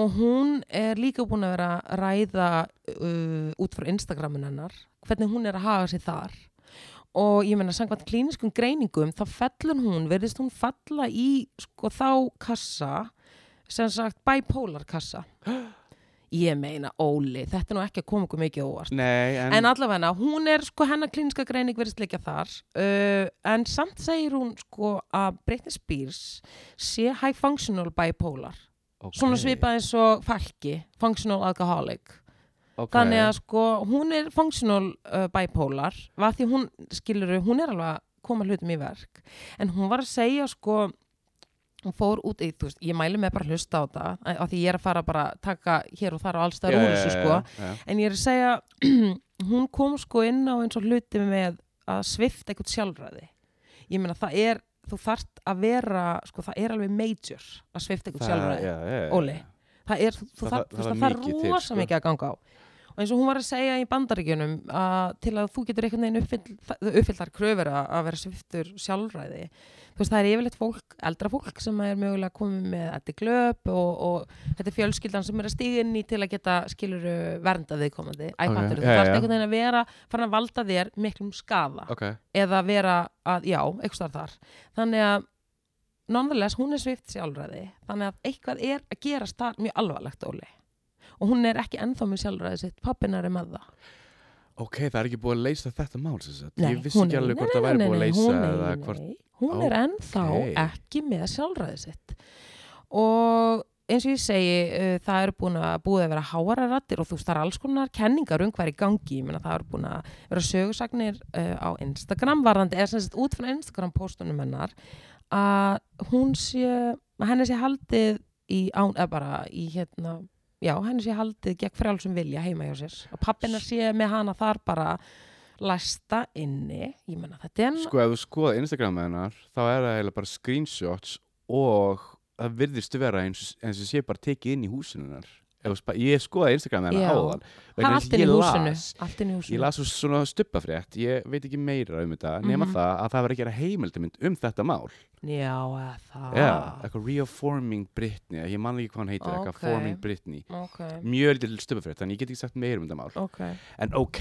B: og hún er líka búin að vera að ræða uh, út frá Instagramun hennar hvernig hún er að haga sér þar og ég meina samkvæmt klíniskum greiningum þá fellur hún, verðist hún falla í sko þá kassa sem sagt bipolar
A: *gasps*
B: kassa ég meina Óli, þetta er nú ekki að koma okkur mikið á óvart
A: Nei, en,
B: en allavega hún er sko hennar klíniska greining verðist leikja þar uh, en samt segir hún sko að Britney Spears sé high functional bipolar
A: okay.
B: svona svipað eins og falki functional alcoholic
A: okay.
B: þannig að sko hún er functional uh, bipolar var því hún skilur hún er alveg að koma hlutum í verk en hún var að segja sko hún fór út í, þú veist, ég mæli mig bara að hlusta á það af því ég er að fara bara að taka hér og þar og allstæðar úr þessu sko
A: já,
B: en ég er að segja *clears throat* hún kom sko inn á eins og hluti með að svifta eitthvað sjálfræði ég meina það er, þú þarft að vera sko það er alveg major að svifta eitthvað sjálfræði
A: já, já, já.
B: Óli. það er, þú, þú
A: Það-
B: þarf,
A: það-
B: það,
A: það
B: það þarf
A: þarf mikið til,
B: rosa
A: sko.
B: mikið að ganga á og eins og hún var að segja í bandaríkjunum að til að þú getur einhvern veginn uppfyll, uppfylltar kröfur að að vera sviftur sjálfræði þú veist það er yfirleitt fólk, eldra fólk sem er mögulega komið með þetta glöp og, og þetta er fjölskyldan sem er að stíga inn í til að geta skilur verndað viðkomandi
A: Ok,
B: æfattur,
A: já,
B: okay. þú þarf
A: já.
B: einhvern veginn að vera farin að valda þér miklum skafa
A: Ok,
B: eða vera að, já, eitthvað starf þar þannig að nonetheless, hún er svipt sjálfræði þannig að eitthvað er að gerast þar mjög alvarlegt Óli og hún er ekki ennþá með sjálfræði sitt pappinar er með það
A: ok, það er ekki búið að leysa þetta mál sem sagt.
B: Nei,
A: Ég vissi
B: hún
A: ekki
B: er-
A: alveg
B: nei,
A: hvort
B: nei,
A: það væri
B: nei,
A: búið að
B: nei,
A: leysa
B: hún, nei,
A: eða
B: nei,
A: hvort
B: nei. hún er ennþá
A: Ókei.
B: ekki með sjálfræði sitt og eins og ég segi uh, það eru búin að búið að vera háara rattir og þú veist það er alls konar kenningar um hvað er í gangi Ég meina, það eru búin að vera sögursagnir uh, á Instagram varðandi eða sem sagt út frá Instagram postunum hennar að hún sé að henni sé haldið í án eða bara í hérna já henni sé haldið gegn frjálsum vilja heima hjá sér og pappina sé með hana þar bara læsta inni ég menna þetta er
A: Sko, ef þú skoða Instagram með hennar þá er það eiginlega bara screenshots og það virðist vera eins, eins og sé bara tekið inn í húsinu hennar Ef þú spa- Ég skoða Instagram með
B: Já.
A: hennar áðan
B: það er
A: vegna þess að
B: allt inn í
A: ég
B: húsinu
A: las-
B: allt inn í
A: Ég
B: húsinu
A: las svo svona stuppafrétt, ég veit ekki meira um þetta, nema
B: Mhm.
A: það að það var að gera heimildamind um þetta mál.
B: já eða það
A: Já, eitthvað Reforming Britney, ég man ekki hvað hann heitir,
B: Ókei.
A: eitthvað Forming Britney.
B: ok
A: Mjög litil stuppafrétt, þannig ég get ekki sagt meira um þetta mál.
B: ok
A: En ok,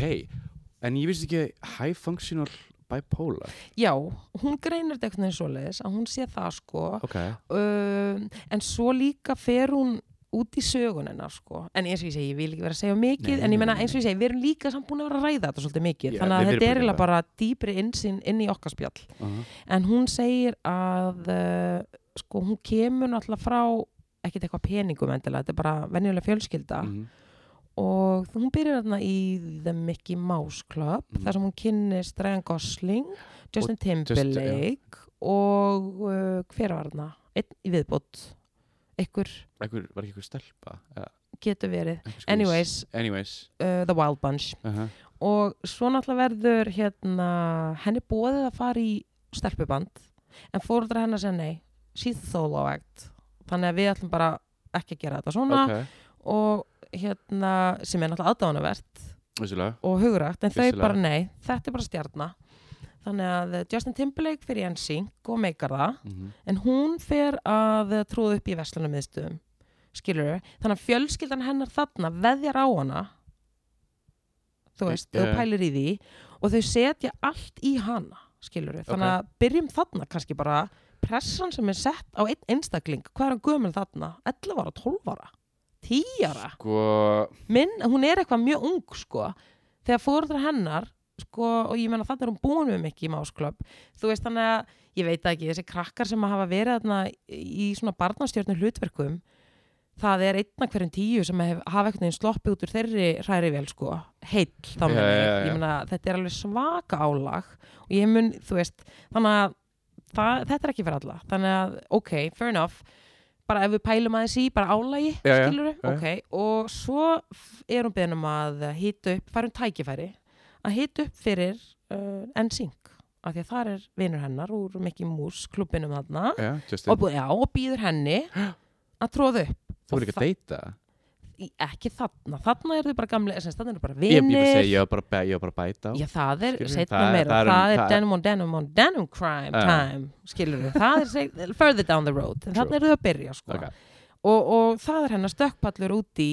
A: en ég vissi ekki High Functional Bipolar.
B: já hún greinir þetta eitthvað svoleiðis að hún sé það sko
A: Ok,
B: um, en svo líka fer hún út í sögunina sko en eins og ég segi, ég vil ekki vera að segja of mikið
A: Nei,
B: en ég
A: nei,
B: menna
A: nei,
B: eins og ég segi, við erum líka samt búin að vera að ræða þetta svolítið mikið
A: Já,
B: þannig að
A: við
B: þetta
A: erum
B: er
A: búin að
B: eiginlega
A: gera
B: bara dýpri innsinn inn í okkar spjall
A: uh
B: en hún segir að uh, sko hún kemur náttúrulega frá ekkert eitthvað peningum endilega, þetta er bara venjulega fjölskylda
A: -huh.
B: og hún byrjar þarna í The Mickey Mouse Club
A: Mhm.
B: þar sem hún kynnist Ryan Gosling Justin Timberlake og uh, hver var þarna? Einn í viðbót ykkur
A: Ekkur, var ekki eitthvað stelpa? Eða,
B: getur verið
A: einhvers konar-
B: anyways,
A: Anyways.
B: uh, The Wild Bunch
A: Uh -huh.
B: og svo náttúrulega verður hérna, henni bóðið að fara í stelpuband en fóruðra hennar segja nei she's a solo act þannig að við ætlum bara ekki að gera þetta svona
A: Ok,
B: og hérna sem er náttúrulega aðdánavert
A: vissulega.
B: og hugrætt en þau
A: Vissulega.
B: bara nei, þetta er bara stjarna þannig að Justin Timberlake fyrir NSYNC og meikar það
A: Uh
B: en hún fer að trúða upp í vestlunum miðstöðum skilur þannig að fjölskyldan hennar þarna veðjar á hana þú veist,
A: Ja.
B: þau pælir í því og þau setja allt í hana skilur þannig að byrjum þarna kannski bara pressan sem er sett á einn einstakling hvað er hann gömul þarna? 11 ára, 12 ára 10 ára
A: Sko,
B: minn, hún er eitthvað mjög ung sko, þegar fórundra hennar sko, og ég menna þannig er hún búin með mikið í Másklöpp, þú veist þannig að ég veit það ekki, þessi krakkar sem hafa verið þarna í svona barnastjórnum hlutverkum það er einna hverjum tíu sem hef, hafa eitthvað sloppi út úr þeirri hræri vel sko, heill þá
A: Já,
B: meina ég,
A: já, já.
B: ég meina þetta er alveg svaka álag og ég mun, þú veist þannig að það, þetta er ekki fyrir alla þannig að, ok, fair enough bara ef við pælum aðeins í, bara álagi
A: Já, já,
B: skilur við,
A: já, já.
B: ok, og svo f- er hún beðin um að hýta upp fara um tækifæri, að hýta upp fyrir uh, NSYNC af því að þar er vinur hennar úr Mickey Mouse klubbinum þarna
A: já, Justin,
B: og, bú- já, og býður henni að tróða upp
A: þú voru ekki
B: og
A: að deyta?
B: í- ekki þarna, þarna eru þau bara gamli sem sagt, þarna eru bara
A: Ég, ég,
B: vinir
A: bara segi, ég var bara, að be- ég var bara að bæta á.
B: Já, það er,
A: Skilurðu?
B: setna
A: Það er-
B: meira,
A: það
B: það
A: er- um-
B: er,
A: það er-
B: denim on denim on denim crime
A: Já. *laughs*
B: time, skilur við, það er seg- further down the road, en
A: True.
B: þannig eru þau að byrja, sko.
A: Ok.
B: og, og það er hennar stökkpallur út í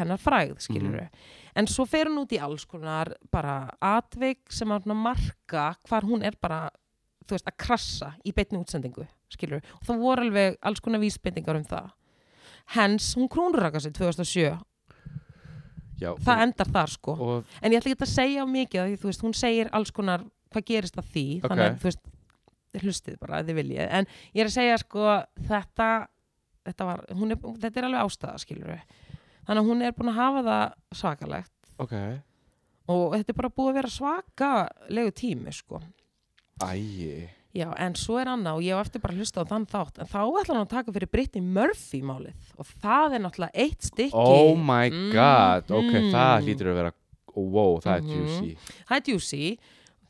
B: hennar fræð, skilur
A: Mhm.
B: en svo fer hún út í alls konar bara atveik sem að svona marka hvar hún er bara þú veist, að krassa í beinni útsendingu skilur, og það voru alveg alls konar vísbendingar um það hens, hún krúnurraka sig 2007
A: Já,
B: það endar þar sko
A: og, og
B: en ég ætla ekki að segja of mikið af því þú veist, hún segir alls konar hvað gerist að því þannig að
A: Ok.
B: þú veist, hlustið bara ef þið viljið, en ég er að segja sko þetta, þetta var hún er, þetta er alveg ástæða skilur þannig að hún er búin að hafa það svakalegt
A: ok,
B: og þetta er bara búið að vera svakalegu tími sko
A: ægi
B: Já, en svo er annað og ég á eftir bara að hlusta á þann þátt en þá ætlar hann að taka fyrir Brittany Murphy málið og það er náttúrulega eitt stykki
A: Oh my god, ok, það
B: Mhm.
A: hlýtur að vera wow, það er
B: Mm, Mhm.
A: juicy
B: það er juicy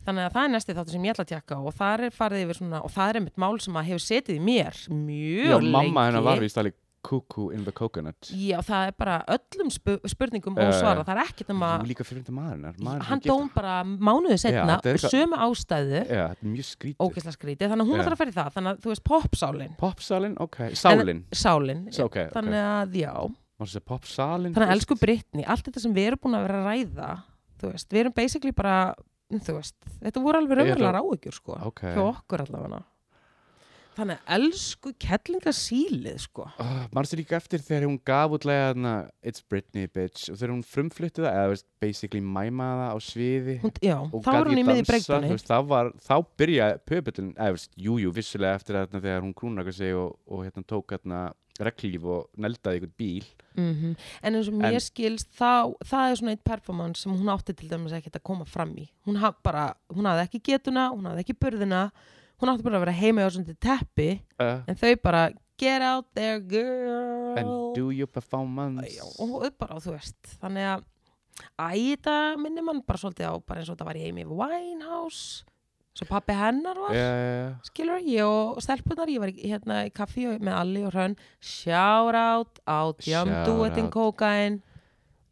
B: þannig að það er næsti þáttur sem ég ætla að tjekka á og það er farið yfir svona og það er einmitt mál sem að hefur setið í mér mjög
A: Já,
B: lengi
A: mamma hennar var víst alveg cuckoo in the coconut
B: Já, það er bara öllum spu spurningum
A: Já, já, já.
B: ósvara, það er ekkert um
A: Jú,
B: að
A: líka fyrir þetta maður hennar maður
B: hann
A: hennar
B: dóm bara mánuðu
A: Já,
B: setna
A: þetta er eitthvað-
B: sömu ástæðu,
A: Já, þetta er mjög skrítið
B: ógeðslega skrítið þannig að hún
A: Já.
B: ætlar að fara í það, þannig að þú veist popsálin
A: Popsalin, ok, sálin
B: sálin,
A: Sá, Ok, ok,
B: þannig að já
A: maður sér popsalin
B: þannig að
A: fyrst.
B: elsku Brittany, allt þetta sem við erum búin að vera að ræða þú veist, við erum basically bara þú veist, þetta voru alveg
A: Ég ætla-
B: raunverulega ráugjur sko,
A: Ok.
B: hjá okkur allavega þannig að elsku kettlingasílið sko
A: Oh, maður sér líka eftir þegar hún gaf útlega þarna It's Britney bitch og þegar hún frumflutti það eða veist, basically mæmaði það á sviði
B: hún, já,
A: og
B: þá
A: gat
B: var hún í
A: ekki
B: miði
A: dansað, þú
B: breyktunni
A: veist, þá, var, þá byrjaði pöpullin eða veist, jú, jú, vissulega eftir þarna þegar hún krúnaka sig og, og hérna tók hérna reglíf og neldaði ykkur bíl
B: mm en eins og mér
A: En-
B: skilst þá, það er svona eitt performance sem hún átti til dæmis ekkert að koma fram í hún hafði bara, hún hafði ekki getuna hún hafði ekki burðina, hún átti bara að vera heima á svona teppi,
A: uh,
B: en þau bara get out there girl
A: and do your performance
B: Já, og bara, þú veist, þannig að æ, þetta minnir mann bara svolítið á bara eins og þetta var í Amy Winehouse svo pappi hennar var
A: Já, já, já.
B: skilur ég og stelpunar ég var í- hérna í kaffi og- með Alli og Hrönn shout out á Jam
A: Shout
B: Duetin
A: out.
B: Cocaine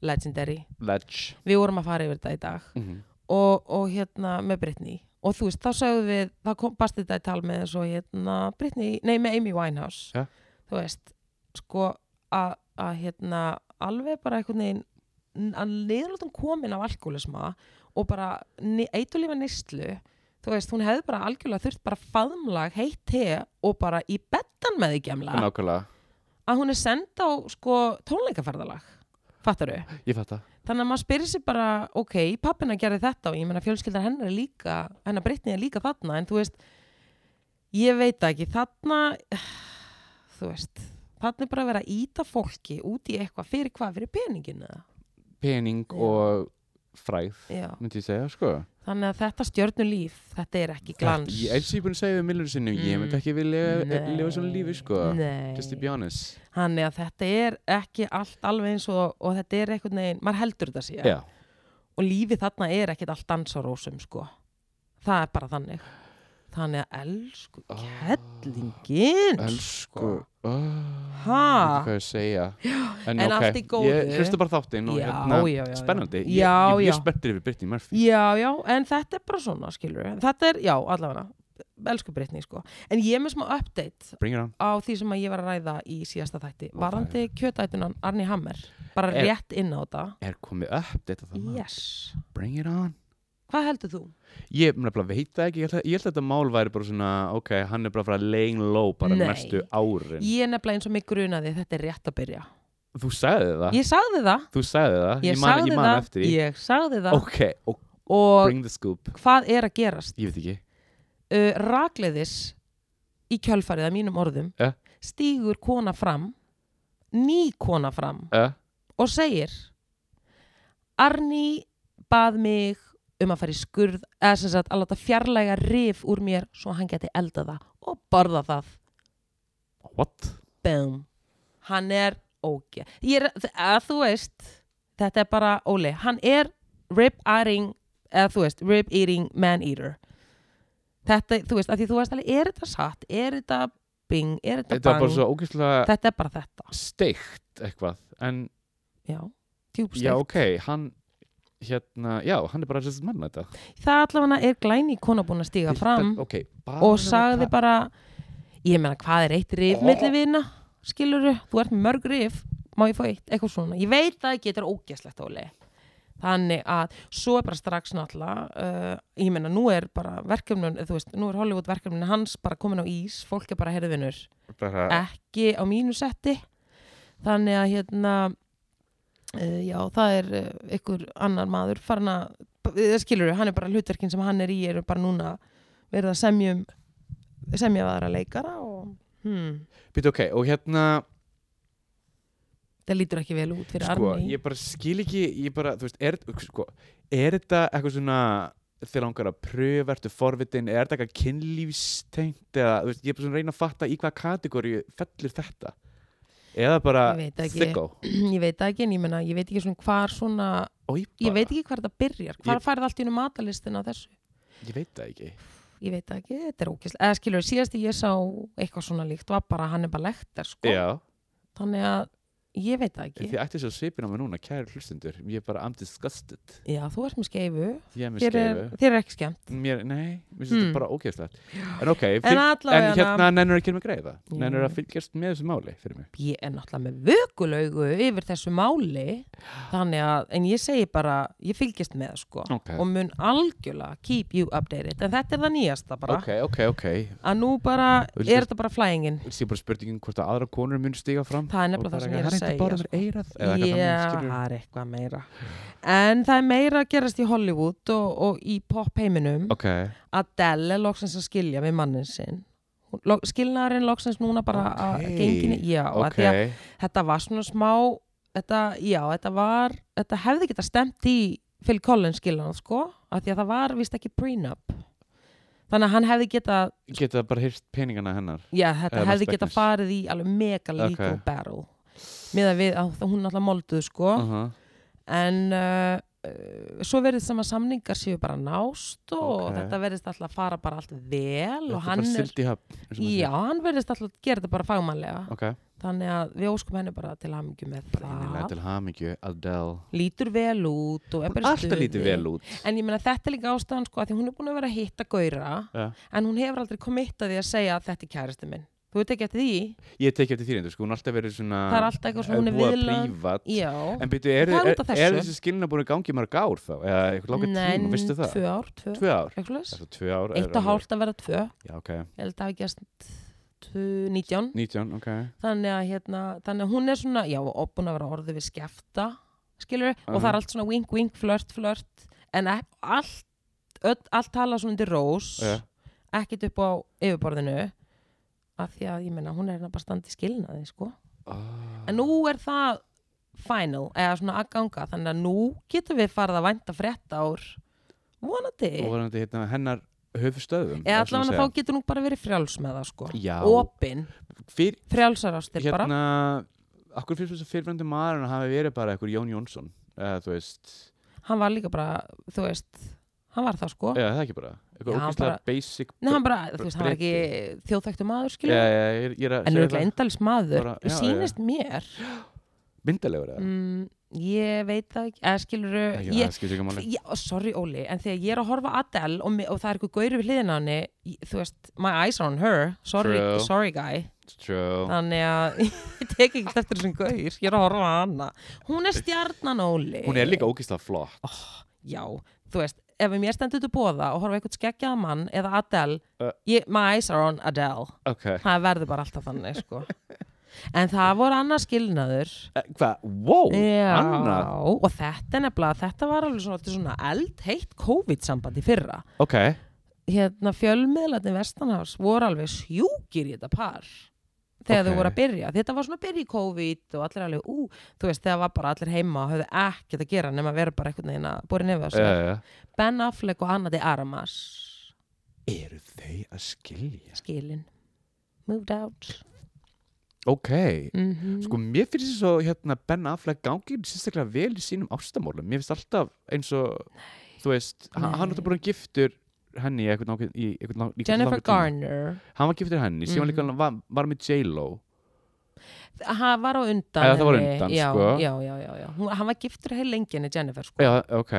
B: legendary,
A: ledge
B: við vorum að fara yfir þetta í dag
A: mm
B: og, og hérna með Britney og þú veist, þá sögum við, þá kom bast þetta í tal með eins og hérna Britney, nei með Amy Winehouse
A: Ja.
B: þú veist, sko að að, hérna alveg bara einhvern veginn n- að niðurlótum komin af alkoholisma og bara eitulífa neyslu þú veist, hún hefði bara algjörlega þurft bara faðmlag, heitt te og bara í bettan með því gemla
A: nákvæmlega,
B: að hún er send á sko tónleikaferðalag fattaru?
A: ég fatt það
B: þannig að maður spyrir sér bara ok, pappina gerði þetta og ég meina fjölskyldar hennar er líka, hennar breytni er líka þarna en þú veist, ég veit það ekki þarna *sighs* þú veist, þarna er bara að vera að íta fólki út í eitthvað fyrir hvað fyrir peninginu eða?
A: pening
B: Já.
A: og fræð
B: Já.
A: myndi ég segja, sko
B: þannig að þetta stjörnulíf þetta er ekki glans Mm.
A: Ég eins og ég er búin að segja við millur sinnum, ég myndi ekki vilja
B: Nei.
A: lifa svona lífi sko
B: Nei.
A: Just to be honest
B: þannig að þetta er ekki allt alveg eins og, og þetta er eitthvað neginn, maður heldur þetta sér
A: Já,
B: og lífið þarna er ekkit allt dansarósum sko. það er bara þannig þannig að elsku
A: Ah.
B: kettlingin
A: elsku oh,
B: Sko. Ha?
A: Hvað ég að segja
B: *gasps*
A: En,
B: En
A: ok,
B: allt í góðu.
A: Ég hlusta bara á þáttinn og
B: Já,
A: hérna
B: já, já, já.
A: Spennandi, ég,
B: Já,
A: ég, ég,
B: já.
A: ég spenntir yfir Brittany Murphy
B: já, já, en þetta er bara svona skilur við, þetta er, já, allavega elsku Brittany sko, en ég er með smá update
A: Bring it on
B: á því sem að ég var að ræða í síðasta þætti,
A: Ó,
B: varandi kjötætunan Arni Hammer, bara
A: Er-
B: rétt inn á þetta
A: Er komið upp þetta þannig
B: yes,
A: Bring it on
B: hvað heldur þú?
A: Ég nefnilega veit það ekki, ég held, að- ég held að þetta mál væri bara svona Ok, hann er bara að fara laying low bara
B: Nei.
A: næstu árin
B: Ég er nefnilega eins og mig grunaði, þetta er rétt að byrja
A: Þú sagði það
B: ég sagði það,
A: Þú sagði það,
B: ég,
A: Ah. ég man,
B: sagði
A: ég man
B: það
A: eftir því
B: ég sagði það
A: Ok, ok,
B: og
A: bring the scoop
B: hvað er að gerast
A: Ég veit ekki
B: uh, rakleiðis í kjölfarið að mínum orðum
A: Ja.
B: stígur kona fram ný kona fram
A: uh,
B: og segir Arni bað mig um að fara í skurð eða sem sagt að láta fjarlæga rif úr mér svo hann geti elda það og borða það
A: What?
B: Boom. hann er ógeð ég er, að þú veist þetta er bara Óli, hann er rib eating eða þú veist, rib eating man eater þetta, þú veist, að því þú veist alveg, er þetta satt, er þetta bing, er þetta
A: Þetta var
B: bang
A: bara svo ógeðslega
B: þetta er bara þetta,
A: steikt eitthvað en
B: já, djúbsteg
A: já ok, hann hérna, já, hann er bara þessi mann þetta
B: það allavega er glæni kona búin að stíga fram
A: okay, bara
B: og
A: það-
B: sagði bara ég meina, hvað er eitt rif
A: Ó.
B: milli vina skiluru, þú ert með mörg rif má ég fá eitt, eitthvað svona ég veit að það getur ógeslegt ólega þannig að svo er bara strax náttúrulega uh, ég meina nú er bara verkefnun, þú veist, nú er Hollywood verkefnun hans bara komin á ís, fólk er bara herðvinur
A: bara,
B: ekki á mínu setti þannig að hérna uh, já, það er uh, einhver annar maður farin að, það skilur hann er bara hlutverkin sem hann er í, eru bara núna verið að semjum semja við aðra leikara og hmm,
A: býtu ok, og hérna
B: það lítur ekki vel út fyrir
A: sko,
B: Arni
A: ég bara skil ekki ég bara, þú veist, er, sko, er þetta eitthvað svona þér langar að pröfa, ertu forvitin er þetta eitthvað kynlífstengt eða, þú veist, ég er bara svona að reyna að fatta í hvaða kategóri fellur þetta eða bara
B: Ég veit ekki.
A: þiggó
B: *clears throat* ég veit það ekki, en ég menna, ég veit ekki svona hvar svona, ég veit ekki hvar þetta byrjar hvar
A: Ég-
B: ég... færði allt í unum matalistin á þessu
A: ég veit það ekki
B: ég veit það ekki, þetta er ógæslega eða skilur, síðast ég sá eitthvað svona líkt var bara hann er bara lektar sko
A: já,
B: þannig að ég veit það ekki
A: þið ætti svo svipin á mig núna, kæri hlustundur ég er bara I'm disgusted
B: já, þú ert með skeifu,
A: ég er með
B: þér er,
A: skeifu
B: þér er ekki skemmt
A: mér, nei, mér finnst þetta
B: Hmm.
A: bara ógeðslegt en ok,
B: en
A: fylg, en
B: allavega
A: hérna nennur ekki með greiða
B: Jú.
A: nennur að fylgjast með þessu máli fyrir mig
B: ég er náttúrulega með vökulaugu yfir þessu máli þannig að, en ég segi bara ég fylgist með sko
A: Ok.
B: og mun algjörlega keep you updated en þetta er það nýjasta bara
A: ok, ok, ok
B: að nú bara,
A: Viltu-
B: er þetta bara flæðingin
A: það er bara spurningin hvort að aðra konur mun stiga fram
B: Það er nefnilega það sem ég er að segja,
A: bara
B: sko.
A: með eirað eða eitthvað
B: Já,
A: þannig, skilur.
B: það er eitthvað meira En það er meira að gerast í Hollywood og, og í pop heiminum
A: ok,
B: Adele er loksins að skilja við mannin sinn Hún- lo- skilnaðurinn loksins núna bara að
A: Ókei,
B: gengin já,
A: ok
B: okay. að þetta var svona smá þetta, já, þetta var þetta hefði geta stemt í Phil Collins skilnað, sko, af því að það var vist ekki prenup þannig að hann hefði geta,
A: geta það bara hýrt peningana hennar
B: já, þetta
A: Eða
B: hefði
A: Las
B: geta
A: Vegas.
B: farið í alveg mega legal
A: Ok.
B: battle með að við, að hún alltaf molduð, sko
A: uh -huh.
B: en uh, uh, svo verðist sem að samningar séu bara nást og
A: Ok.
B: þetta verðist alltaf að fara bara allt vel
A: þetta
B: og
A: er
B: hann
A: bara
B: er,
A: silt í höfn eins og maður
B: já,
A: segir.
B: hann verðist alltaf að gera þetta bara fagmannlega
A: ok,
B: þannig að við óskum henni bara til hamingju með
A: innilega
B: það
A: til hamingju Adele
B: lítur vel út og er bara í
A: alltaf
B: stuði.
A: lítið vel út
B: en ég meina þetta er líka ástæðan sko að því hún er búin að vera að hitta gauðra
A: Já.
B: en hún hefur aldrei komið að því að segja að þetta er kæristi minn þú veit ekki eftir því,
A: ég teki eftir þýrindu, sko, hún er alltaf verið svona
B: það er alltaf eitthvað svona hún er
A: búið að
B: viðlögð
A: prívat
B: já,
A: En byrju, er,
B: Það er
A: er,
B: út af
A: er,
B: þessu.
A: þessi skilina búin að gangi í mörg ár þá? Eða eitthvað langar tíma, veistu það?
B: tvö ár, tvö,
A: Tvö ár?
B: tvö.
A: Er það tvö ár? er
B: eitt og
A: alveg-
B: hálft að vera tvö
A: Já, ok.
B: ég held að hafi gerst 19
A: 19, ok.
B: þannig að, hérna, þannig að hún er svona já, og búin að vera orðið við skefta skilur og það er
A: Aha.
B: allt svona wink, wink, flört, flört en e- allt öll, allt tala svona undir rós
A: Já.
B: ekkit upp á yfirborðinu af því að ég meina hún er hérna bara standi skilnaði sko.
A: Oh.
B: en nú er það final, eða svona að ganga þannig að nú getum við farið að vænta frétta ár vonandi
A: Og var þetta hérna hennar höfustöðum?
B: eða allavega þá getur hún bara verið frjáls með það sko
A: Já.
B: opinn
A: Fyr,
B: frjálsarástir bara
A: hérna, akkur fyrir þess að fyrirvendu maðurinn hafi verið bara eitthvað Jón Jónsson, eða þú veist,
B: hann var líka bara, þú veist hann var það sko
A: eða það ekki bara, eitthvað
B: Já, hann
A: ógæslega
B: bara-
A: basic.
B: Nei, hann bara, þú veist, hann var
A: Breki.
B: ekki þjóðþæktu maður
A: Já,
B: skilur
A: já, ég er- ég er að
B: en
A: segja
B: auðvitað endalis maður
A: Bara- já, já.
B: sýnist mér
A: Myndalegur eða?
B: mm, ég veit það ekki, eða skilur
A: Ekki,
B: ég,
A: Það skiptir ekki máli.
B: Já, oh, sorry Óli, en þegar ég er að horfa á Adele og, mi- og það er eitthvað gauri við hliðina á henni ég- þú veist, my eyes are on her sorry,
A: True. Oh.
B: sorry guy
A: True.
B: þannig að *laughs* ég tek ekki eftir þessum gaur ég er að horfa á hana hún er stjarnan Óli
A: Hún er líka ógæslega flott.
B: Ah. já, þú veist, ef mér stendur til bóða og horfa á eitthvað skeggjaða mann eða Adele,
A: Uh.
B: ég, my eyes are on Adele
A: Ok. Eh,
B: það verður bara alltaf þannig,
A: *laughs*
B: sko en það voru annars skilnaður
A: Eh, Hvað? Wow,
B: já,
A: annað
B: og þetta er nefnilega þetta var alveg svona, svona eldheitt COVID-samband í fyrra
A: Ok,
B: hérna fjölmiðlarnir Vestanhafs voru alveg sjúkir í þetta par þegar
A: Ok.
B: þau voru að byrja, þetta var svona að byrja í COVID og allir alveg, ú, þú veist, þegar var bara allir heima og höfðu ekkert að gera nema að vera bara einhvern veginn að búið nefið á
A: já,
B: sér
A: já, já.
B: Ben Affleck og Anna de Armas
A: Eru þau að skilja?
B: skilin moved out
A: Ok,
B: mm
A: sko mér finnst þess að hérna, Ben Affleck gangi sérstaklega vel í sínum ástamálum Mér finnst alltaf eins og, þú veist, hann,
B: Nei.
A: hann átti bara giftur henni í eitthvað nákvæm í eitthvað lang- í
B: Jennifer
A: langan tíma.
B: Garner
A: Hann var giftur henni, síðan
B: Mhm.
A: líka hann var, var með J-Lo
B: hann var á undan
A: Eða það var
B: henni.
A: undan,
B: já,
A: sko.
B: já, já, já, já. Hún, hann var giftur heil lengi henni Jennifer sko.
A: Já, ok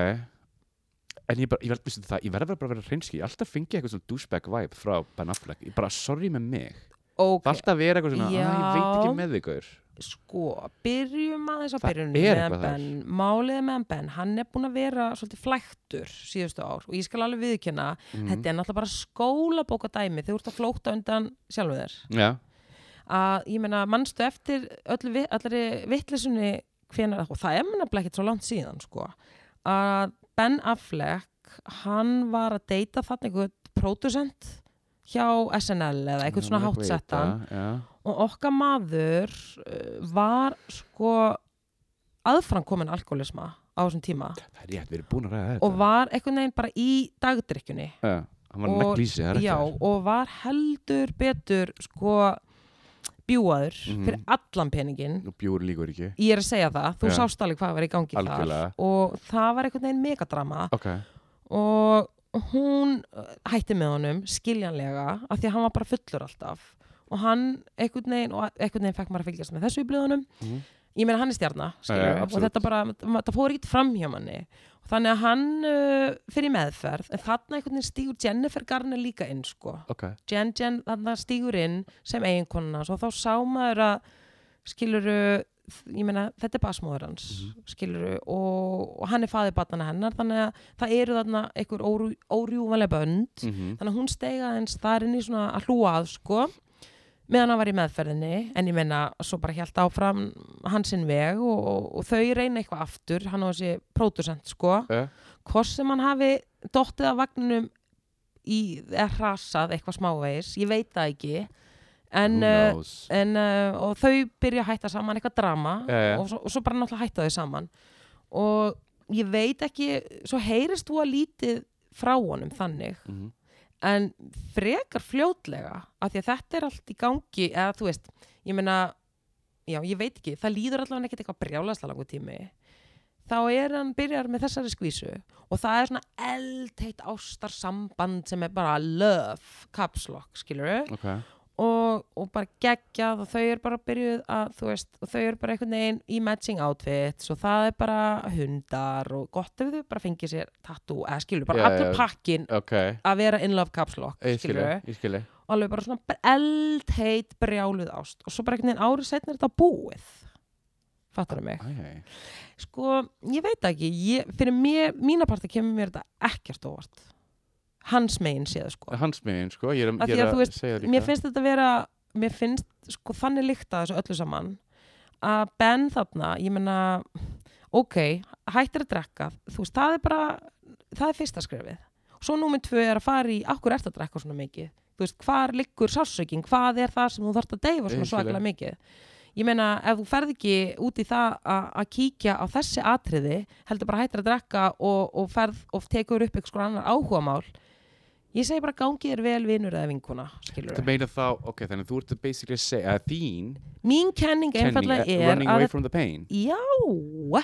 A: En ég bara, ég verð, veistu það, ég verð bara að vera hreinski Ég alltaf fengi eitthvað svona douchebag vibe frá Ben Affleck Ég bara, sorry með mig
B: ok,
A: alltaf að vera eitthvað svona, já. ég veit ekki
B: Já.
A: með þig gaur
B: sko, byrjum aðeins á
A: Það
B: byrjunum
A: er
B: með
A: eitthvað þar.
B: Ben. Málið með Ben, hann er búin að vera svolítið flæktur síðustu ár og ég skal alveg viðkynna,
A: Mhm.
B: þetta er náttúrulega bara skólabóka dæmi þegar þú ert að flóta undan sjálfum þér.
A: já,
B: Að ég meina, mannstu eftir öllu, vi- allri vittlisunni hvenar, og það er mér nefnilega ekkert svo langt síðan, sko, að Ben Affleck, hann var að deyta þarna einhvern pródusent hjá SNL eða eitthvað svona
A: Já, ég veit
B: hátsettan
A: það, já.
B: og okkar maður uh, var sko aðframkomin alkoholisma á þessum tíma
A: það er rétt, við erum búin að ræða þetta
B: og var einhvern veginn bara í dagdrykkjunni
A: Já, hann var
B: og-
A: neglísi, það er rétt
B: já,
A: hjá þér.
B: og var heldur betur sko bjúaður
A: Mhm.
B: fyrir allan peningin
A: og bjóður líkur ekki
B: ég er að segja það, þú
A: Já.
B: sást alveg hvað var í gangi
A: Algjörlega.
B: þar og það var einhvern veginn megadrama
A: ok,
B: og hún uh, hætti með honum skiljanlega af því að hann var bara fullur alltaf og hann einhvern veginn, og einhvern veginn fekk maður að fylgjast með þessu í blöðunum
A: Mhm.
B: ég meina hann er stjarna skilur,
A: Ja, ja,
B: og þetta bara, það fór ekkert fram hjá manni og þannig að hann uh, fyrir meðferð, en þarna einhvern veginn stígur Jennifer Garner líka inn sko
A: ok
B: Jen Jen þarna stígur inn sem eiginkonuna og þá sá maður að skiluru, ég meina þetta er basmóður hans, skiluru og, og hann er faðið batnana hennar þannig að það eru þarna einhver óru, órjúvanlega bönd,
A: Mhm.
B: þannig að hún steiga eins þar inn í svona að hlúa að sko meðan hann var í meðferðinni en ég meina svo bara hjælt áfram hansinn veg og, og, og þau reyna eitthvað aftur, hann á þessi pródusent sko
A: Eh,
B: hvort sem hann hafi dottið af vagninum í, eða hrasað eitthvað smávegis, ég veit það ekki en,
A: who
B: uh,
A: knows?
B: en uh, og þau byrja að hætta saman eitthvað drama
A: Já, já.
B: Og, svo, og svo bara náttúrulega hætta þau saman og ég veit ekki svo heyrist þú að lítið frá honum þannig
A: Mhm.
B: en frekar fljótlega af því að þetta er allt í gangi eða þú veist, ég meina já, ég veit ekki, það líður allavega ekkert eitthvað brjálasla langu tími þá er hann byrjar með þessari skvísu og það er svona eldheitt ástarsamband sem er bara love caps lock, skilur
A: ok,
B: og, og bara geggjað og þau eru bara byrjuð að, þú veist, og þau eru bara einhvern veginn í matching outfits og það er bara hundar og gott ef þau bara fengið sér tattoo, eða skilur, bara
A: Já,
B: allur
A: já.
B: pakkin
A: ok
B: að vera in love caps lock,
A: ég
B: skilur
A: skilji, ég skilji
B: og alveg bara svona eldheit brjáluð ást og svo bara einhvern veginn árið setna er þetta búið fattar mig
A: Æ,
B: sko, ég veit ekki ég, fyrir mér, mína parti kemur mér þetta ekkert óvart hans megin séð sko
A: hans megin sko, ég er,
B: Af
A: ég er
B: því að þú
A: að
B: veist,
A: segja líka
B: mér finnst þetta vera mér finnst sko þannig líkta þessu öllu saman að Ben þarna ég meina, ok hættir að drekka, þú veist, það er bara það er fyrsta skrefið svo númið tvö er að fara í, akkur ert að drekka svona mikið þú veist, hvar liggur sásökin hvað er það sem þú þarft að deyfa svona
A: Vissulega.
B: svaklega mikið ég meina, ef þú ferð ekki út í það að að kíkja á þessi atriði heldur bara hættir að drekka og, og ferð og tekur upp eitthvað annar áhugamál ég segi bara gangi þér vel vinur eða vinkuna skilur
A: Þetta meina þá, ok, þannig að þú ert að basically segja að þín
B: mín kenning
A: kenning
B: einfallega
A: er
B: er
A: running
B: að
A: away from the pain
B: já,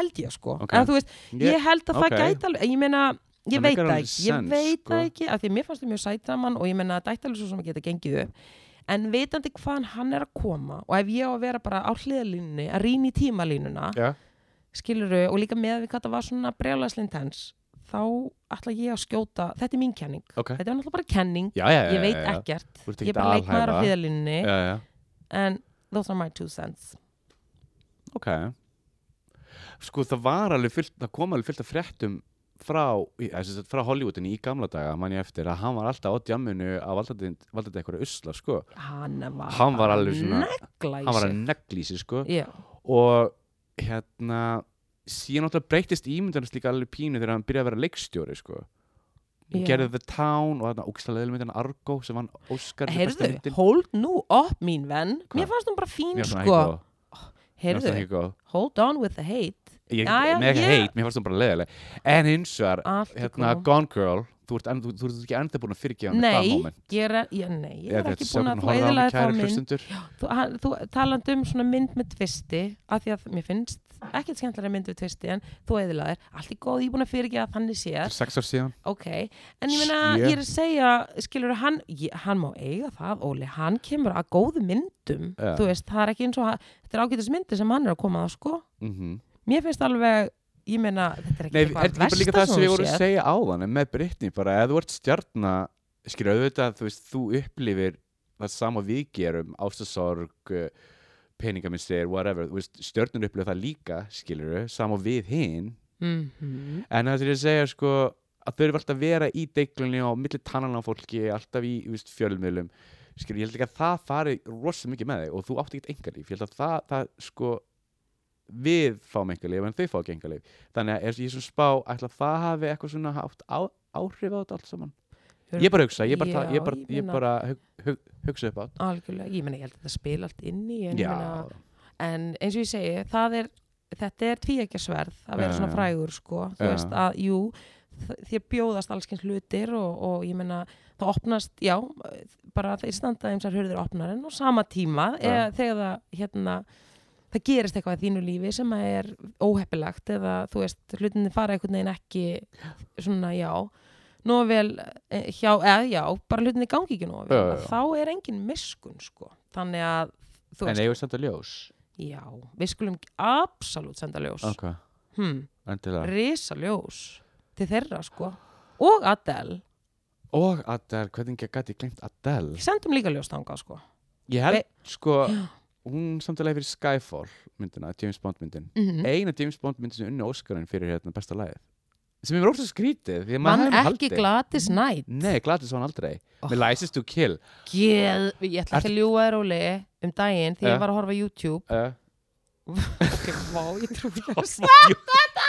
B: held ég sko
A: Ok.
B: okay. þú veist,
A: Ég-
B: ég held að
A: ok.
B: það gæti alveg ég meina, ég
A: Það
B: veit
A: meikar
B: það
A: alveg
B: ekki ég
A: sens,
B: veit
A: sko.
B: það ekki, af því að mér fannst það mjög sætraman og ég meina að dætt alveg svo sem að geta gengið upp en vitandi hvaðan hann er að koma og ef ég á að vera bara á hliðalínunni að rýna í tímalínuna
A: Já,
B: skiluru og líka með við hvað það var svona brjálæslind hans þá ætla ég að skjóta, þetta er mín kenning
A: Ok.
B: þetta er náttúrulega bara kenning,
A: já, já, já
B: ég veit
A: já, já.
B: ekkert
A: Þú ert
B: ég
A: ekkert
B: er bara
A: að
B: leikmaður á
A: alhæfa.
B: hliðalínunni
A: Já, já,
B: en those are my two cents
A: ok Sko, það var alveg fyllt, það kom alveg fyllt af fréttum frá, í- eða sem sagt, frá Hollywoodinni í gamla daga, man ég eftir, að hann var alltaf á djamminu að valda þetta eitthvað usla, sko
B: hann var,
A: Hann var alveg svona,
B: negla í
A: hann var að
B: sig
A: neglísi, sko
B: Já,
A: og hérna síðan náttúrulega breytist ímyndarnas líka alveg pínu þegar hann byrjaði að vera leikstjóri sko. hann
B: Já.
A: gerði The Town og þarna ógislega leðilmyndin Argo sem hann Óskar fyrir bestu
B: heyrðu,
A: myndin.
B: hold nú up mín venn
A: Hva?
B: mér fannst hún bara fín
A: Mér fannst hann ekki
B: sko
A: góð. Mér fannst hann
B: heyrðu,
A: ekki góð.
B: hold on with the hate
A: Ég-
B: Já, já,
A: Nei, ekki
B: ég-
A: heit, mér fannst hann bara leðileg en hins vegar,
B: allt í
A: hérna
B: góðu.
A: Gone Girl þú ert, enn, þú, þú ert ekki enda búin að fyrirgefa hann það
B: nei,
A: moment
B: ég er, ég, nei, ég
A: Eða
B: er
A: þetta
B: ekki
A: sem
B: búin að
A: hún horfir
B: þú
A: á mig,
B: eðilaði þá
A: kæru
B: mynd
A: hlustendur.
B: þú, hann- þú talandi um svona mynd með tvisti af því að mér finnst ekkert skemmtilega mynd með tvisti en þú eðilaðir, allt í góð, ég er búin að fyrirgeða þannig
A: Þetta
B: séð
A: er sex ár síðan
B: ok, en ég meina,
A: Sjö.
B: ég er að segja skilur, hann, ég, hann má eiga það Óli, hann kemur að góðu myndum
A: Já.
B: þú veist, það er ekki eins og að, þetta er ágætis myndi sem hann er að koma að sko
A: mm
B: mér finnst alveg, ég meina þetta er ekki
A: Nei, er þetta ekki bara líka það sem við vorum að segja áðan en með Brittany bara, eða þú ert stjarna skilur auðvitað, þú veist, þú upplifir það sama og við gerum ástasorg peningamistir, whatever, þú veist, stjörnur upplifa það líka, skilur við, sama og við hinn
B: Mm -hmm.
A: en það sem ég er að segja sko að þau eru alltaf að vera í deiklunni og á milli tannan á fólki, alltaf í þú veist, fjölmiðlum skilur, ég held ekki að það fari rosa mikið með þig og þú átt ekkert engalíf ég held að það, það sko við fáum engalíf en þau fá ekki engalíf þannig að eins og ég er svona spá, ætla að það hafi eitthvað svona haft á, áhrif á þetta allt saman
B: Hör-
A: ég bara hugsa, ég bara,
B: Já,
A: já, ég bara,
B: ég
A: ég
B: meina-
A: bara hug, hug, hugsa upp á þetta
B: Algjörlega, ég meina ég held að þetta spila allt inn í en, ég
A: já,
B: meina, en eins og ég segi, það er þetta er tvíækjasverð að vera
A: Já,
B: svona
A: já.
B: frægur sko, þú
A: Já.
B: veist að jú, þ- þér bjóðast allskins hlutir og, og ég meina það opnast, já, bara þeir standa þeim sér hurðir opnar en á sama tíma
A: Já.
B: eða, þegar það, hérna það gerist eitthvað í þínu lífi sem að er óheppilegt eða þú veist, hlutinni fara einhvern veginn ekki svona, já nóg vel eh, hjá, eða já, bara hlutinni gangi ekki nóg vel
A: Já, já,
B: að
A: já.
B: þá er engin miskun sko, þannig að þú
A: en
B: veist,
A: eigum við samt að ljós
B: já, við skulum absolutt senda ljós
A: ok,
B: hmm,
A: endilega
B: risa ljós til þeirra sko og Adele,
A: og Adele, hvernig gæti ég glemt Adele
B: sendum líka ljós þangað sko
A: Ég held,
B: Ve- *gasps*
A: sko, hún samtalegi fyrir Skyfall myndina, James Bond myndin
B: mm
A: eina James Bond myndin sem unni Óskarinn fyrir hérna besta lagið sem ég verið ósað skrítið því að maður
B: mann
A: hefði
B: ekki glatis nætt
A: Nei, gladið svo hann aldrei
B: Oh.
A: Með License to Kill
B: Geð, ég ætla ekki að ljúga þér óli um daginn því
A: Eh.
B: ég var að horfa á YouTube
A: uh,
B: ok, vá, ég trú ekki að
A: Stop þetta!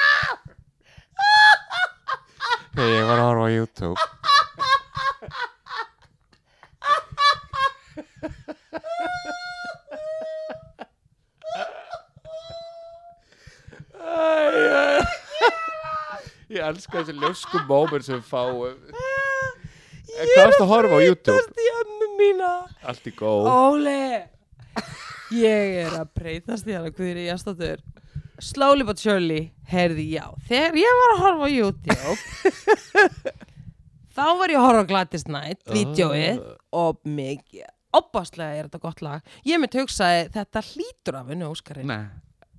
A: Hey, ég var að horfa á YouTube Æ, æ. Ég elska þessi ljósku moment sem við fáum En *laughs* hvað varstu að horfa á YouTube?
B: breytast í ömmu mína
A: Allt í góð
B: Óli Ég er að breytast í hana Guðri Jastóttur Slowly but surely, heyrði já Þegar ég var að horfa á YouTube Þá var ég að horfa á Gladys Night, vídjóið Og mikið Opaslega er þetta gott lag Ég mitt hugsaði þetta hlýtur af henni Óskarinn
A: Nei,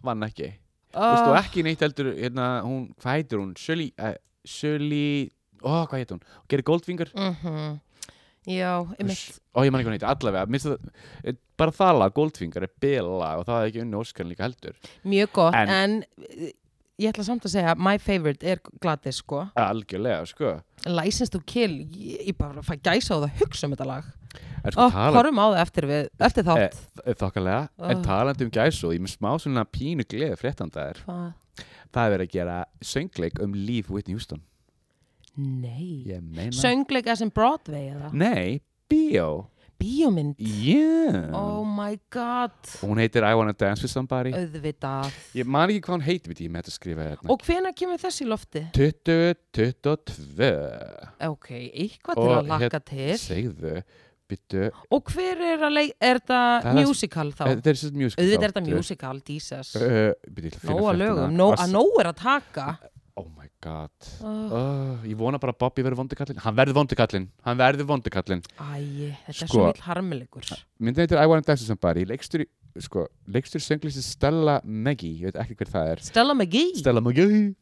A: vann ekki Þú veist, og
B: uh,
A: ekki neitt heldur, hérna, hún, hvað heitir hún? Shirley, uh, Shirley, ó, hvað heitir hún? Geri Goldfinger?
B: mm Já, einmitt
A: Ó, ég man ekki hún heitir, allavega, minnst það, eh, bara það lag, Goldfinger, er bila og það er ekki unni Óskarinn líka heldur.
B: Mjög gott,
A: En-
B: en, eh, Ég ætla samt að segja, my favorite er Gladys sko
A: Algjörlega, sko.
B: License to Kill, ég, ég bara fæ gæsa á það að hugsa um þetta lag
A: En sko,
B: og
A: tala,
B: horfum á það eftir, við, eftir
A: eh,
B: þátt
A: eh, þokkalega, en
B: Oh.
A: talandi um gæsu, ég er með smá svona pínu gleði fréttandaðir.
B: Hvað?
A: Það er verið að gera söngleik um líf Whitney Houston.
B: Nei
A: Ég meina.
B: Söngleika sem Broadway eða?
A: Nei, bíó.
B: Bíómynd?
A: Yeah.
B: Oh my god
A: Og Hún heitir I Wanna Dance With Somebody.
B: Auðvitað
A: Ég man ekki hvað hún heitir við því með þetta að skrifa hérna.
B: Og hvenær kemur þessi lofti?
A: 2022
B: Ok, eitthvað til
A: Og hérna,
B: að lakka
A: hér-
B: til
A: segðu, byttu
B: Og hver er að leik, er
A: Það
B: þetta
A: er-
B: musical þá?
A: Eh, þetta er sér mjög
B: Auðvitað er þetta musical, Jesus
A: uh, byttu,
B: Nóa lögum, nó, að nóg er að taka
A: oh my god
B: Oh.
A: oh, ég vona bara að Bobby verður vondukallin hann verður vondukallin, hann verður vondukallin
B: Æ, þetta er
A: Sko.
B: svo mill harmilegur
A: myndin heitir I Wanna Dance With Somebody leikstur, sko, leikstur sönglisti Stella Maggie, ég veit ekki hver það er
B: Stella McGee
A: Stella Maggie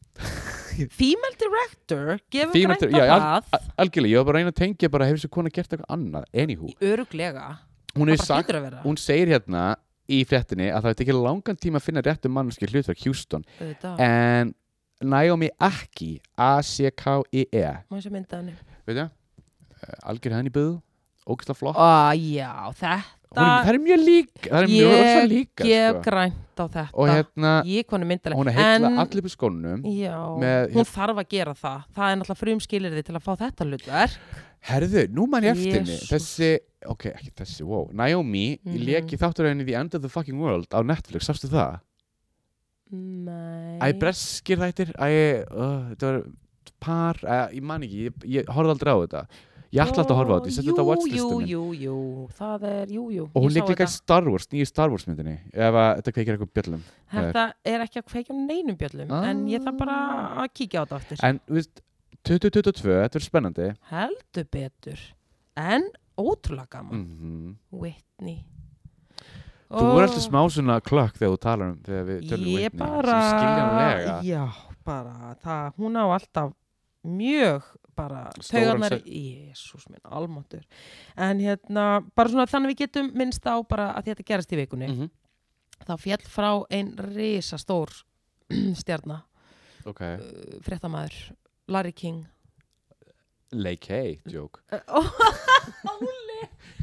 B: Female director, gefum
A: Female
B: grænt
A: dir-
B: á
A: já, al-
B: það
A: al- algjörlega, ég var bara að reyna að tengja bara hefur þessi kona gert eitthvað annað, anywho
B: öruglega,
A: hún
B: það
A: er
B: bara
A: sagt
B: hlýtur að vera
A: hún segir hérna í fréttinni að það hefði tekið langan tíma að finna réttum mannski hlutverk Houston
B: auðvitað,
A: en Naomi Aki A-C-K-I-E
B: maður sem mynda henni
A: veit það, Eh, algjör henni í byðu ógislega flott,
B: Á, já,
A: hún er,
B: þetta
A: það er mjög lík það er mjög rosa
B: ég
A: líka
B: gef
A: sko.
B: grænt á þetta
A: og hérna,
B: ég konu myndaleg
A: hún er heitla allir upp í skónum
B: já,
A: með-
B: hún þarf að gera það það er náttúrulega frumskilirði til að fá þetta hlutverk
A: herðu, nú mann ég eftir henni
B: Jesús.
A: þessi, ok, ekki þessi, wow Naomi, mm
B: Mhm.
A: -hmm. leki þátturöðinni The End of the Fucking World á Netflix, sástu það?
B: nei
A: Æ, breskir þættir Æ, uh, þetta var par Æ, Ég man ekki, ég, ég horfði aldrei á þetta Ég ætla alltaf að horfa á þetta, ég seti þetta á
B: jú,
A: watchlistum minn
B: jú, jú, jú, það er, jú, jú
A: Og hún
B: ég sá
A: líka líka í
B: þetta.
A: Star Wars, nýju Star Wars myndinni Ef að þetta kveikir eitthvað bjöllum
B: þetta er ekki að kveikja á neinum bjöllum
A: Ah.
B: en ég þarf bara að kíkja á þetta aftur
A: En, þú veist, 2022, þetta verður spennandi
B: heldur betur en ótrúlega gaman
A: mm
B: Whitney
A: Þú voru alltaf smá svona klökk þegar þú talar um Þegar við tölum um
B: ég
A: Whitney
B: bara
A: sem skiljanlega
B: já, bara það, hún á alltaf mjög bara
A: Stóran
B: taugarnar,
A: set.
B: jésús minn, almáttur en hérna, bara svona þannig við getum minnst á bara að þetta gerast í vikunni
A: -hmm.
B: þá fjall frá ein risastór *clears throat* stjarna,
A: Ok,
B: uh, fréttamaður Larry
A: *laughs*
B: King
A: leikei, joke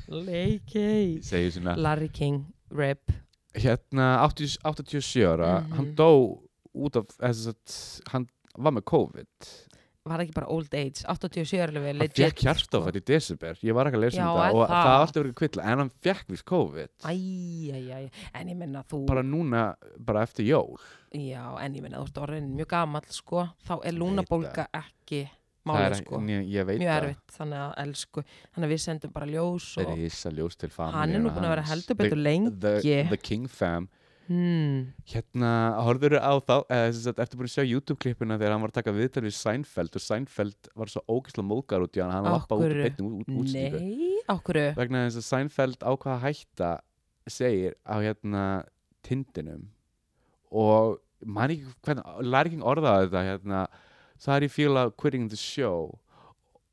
B: Leikei
A: Segir svona
B: Larry King, rip
A: Hérna, 80, 87 ára
B: Mhm.
A: Hann dó út af þess að Hann var með COVID
B: var ekki bara old age, 87 er alveg
A: Hann
B: legit sko.
A: fekk hjartofætt í desember Ég var ekki að lesa
B: Já,
A: um þetta
B: er
A: Og
B: það?
A: það var alltaf verið kvilla En hann fekk vist COVID
B: Æjæjæj, en ég menna þú
A: Bara núna, bara eftir jól
B: Já, en ég menna þú ert orðin mjög gamall sko, þá er
A: Ég
B: lúnabólga ekki
A: Það
B: málið
A: er-
B: sko,
A: en Ég, ég veit
B: mjög
A: það.
B: erfitt þannig að elsku, þannig að við sendum bara ljós
A: Það
B: og
A: er ísa ljós til familíuna
B: hann er nú búin að vera
A: hans.
B: heldur betur lengi
A: the, the, the King Fam
B: hmm.
A: Hérna, horfður á þá eða, sem sagt, Ertu búin að sjá YouTube-klippuna þegar hann var að taka viðtal við Seinfeld og Seinfeld var svo ógeðslega móðgar út í hann hann
B: Af
A: lappa út í
B: hverju?
A: beinni út, út, útstíku
B: Nei, okkur
A: vegna þess að Seinfeld ákvaða hætta segir á hérna tindinum og man ekki hvernig læri ekki orðaði þetta hérna það er ég fíla quitting the show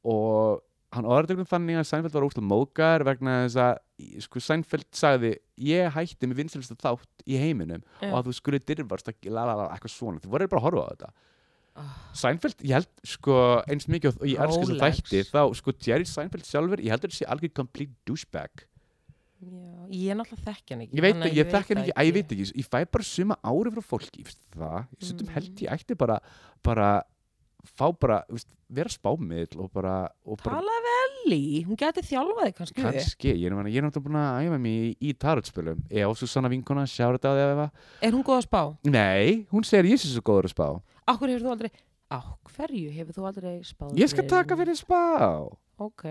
A: og hann orðaði þetta þannig að Seinfeld var óslega mókar vegna þess að sko, Seinfeld sagði ég hætti með vinsælsta þátt í heiminum og að þú skulle dyrfast að la la la eitthvað svona þú voru bara að horfa á þetta Seinfeld, ég held sko eins mikið og ég elskast að
B: Rólegs.
A: þætti þá sko Jerry Seinfeld sjálfur, ég heldur að sé algjör complete douchebag
B: Já, ég er náttúrulega þekk hann ekki
A: ég veit,
B: þannig
A: það,
B: að
A: ég þekk hann
B: það
A: ekki, að ég veit ekki ég fæ bara suma ári frá fólki ég veist það, ég stundum
B: Mm.
A: held ég ætti bara bara, fá bara þú veist, vera spámiðl og bara, og bara
B: Tala um vel í, hún geti þjálfaði kannski
A: kannski, ég er meina- ég er náttúrulega búin að æfa mig í, í tarotspilum, ég á Susanna vinkona sjáur þetta á því að efa,
B: Er hún góð að spá?
A: nei, hún segir ég sé svo góður að spá,
B: Akkur hefur þú aldrei Á hverju hefur þú aldrei spáð
A: ég skal taka fyrir spá
B: Ok,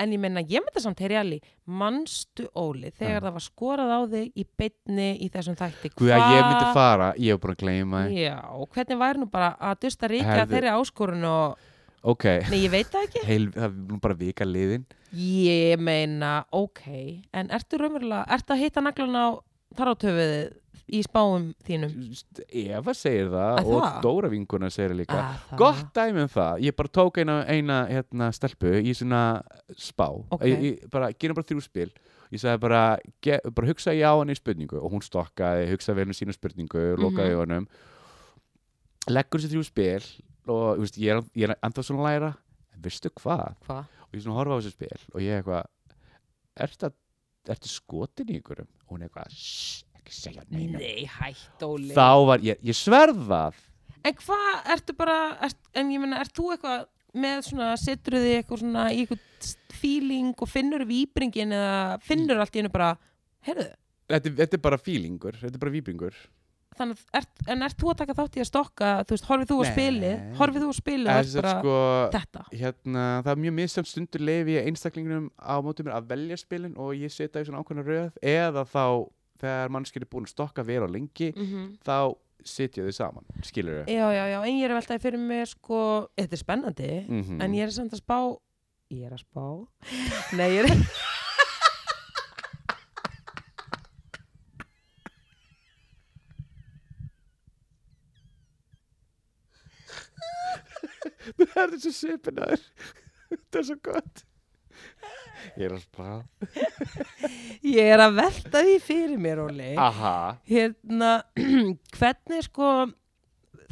B: en ég menna, ég með það samt heyri allir, mannstu Óli þegar það var skorað á þig í beinni í þessum þætti,
A: Guð að ég myndi fara, ég hef búin að gleyma því.
B: Já, hvernig væri nú bara að dusta ríkja
A: Herðu.
B: þeirri áskorun og,
A: Ok,
B: nei ég veit það ekki
A: heil, það er nú bara vika liðin.
B: Ég meina, ok en ertu raunverulega, ertu að hitta naglan á tarátöfuðið í spáum þínum?
A: Eva segir það
B: Að
A: og
B: það? Ah.
A: Dóra vinkuna segir það líka.
B: Að það-
A: Gott dæmi um það, ég bara tók eina, eina hérna, stelpu í svona spá,
B: Ok.
A: ég, ég, bara, gerum bara þrjú spil, ég sagði bara, ge, bara hugsa ég á hann í spurningu og hún stokkaði, hugsaði vel um sína spurningu,
B: Mhm.
A: lokaði mm honum, leggur sér þrjú spil og þú veist, ég er, ég er enda svona að læra, en veistu hvað,
B: Hvað?
A: og ég svona horfa á þessu spil og ég eitthvað ertu, að- ertu skotin í ykkurum og hún eitthvað "Shh, ekki segja neina
B: Nei, hætt Óli
A: þá var ég, ég sverðað
B: En hvað ertu bara, ert, en ég meina, ert þú eitthvað með svona, setur þið eitthvað svona í eitthvað feeling og finnur výbringin eða finnur allt í hennu bara, heyrðu,
A: þetta, er- þetta er bara feelingur, þetta er bara víbringur
B: þannig, að ert, en ert þú að taka þátt í að stokka, þú veist, horfið þú að
A: Nei.
B: spilið, horfið þú að spilið,
A: eða
B: og ert
A: þess
B: bara
A: að sko
B: þetta.
A: hérna, það er mjög misjönd stundur lefi ég einstaklingunum á móti mér að velja spilin og ég setja í svona ákveðna röð eða þá þegar mannskir er búin að stokka vera lengi þá setja þau saman, skilur þau
B: Já, já, já, en ég er að veltaði fyrir mig, sko, þetta er spennandi,
A: Mhm.
B: en ég er samt að spá, ég er að spá, nei, ég er,
A: *laughs* Það er þessi svipinaður *laughs* Þetta er svo gott Ég er að spá
B: ég er að veltaði fyrir mér, Óli.
A: Aha
B: hérna, *clears throat* hvernig sko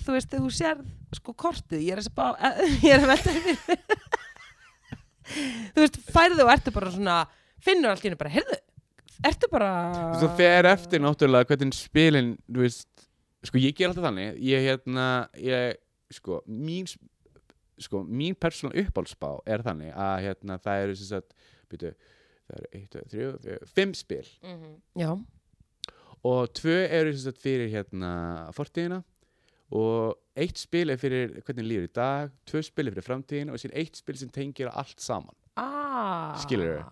B: þú veist, þegar þú sér sko kortið, ég er að spá *laughs* ég er að velta fyrir mér. *laughs* þú veist, færðu og ertu bara svona finnur allt í hennu bara, heyrðu ertu bara
A: Svo fer eftir náttúrulega hvernig spilin Þú veist Sko ég ger alltaf þannig Ég hérna Ég Sko mín Sko mín persónal uppáhaldsspá er þannig að hérna það eru sem sagt Býtu Það eru eitt, tvö, þrjú, fjö- fimm spil
B: já,
A: og tvö eru sem sagt fyrir hérna fortíðina og eitt spil er fyrir hvernig líður í dag, tvö spil er fyrir framtíðina og síðan eitt spil sem tengir allt saman
B: aaa
A: Skilurðu?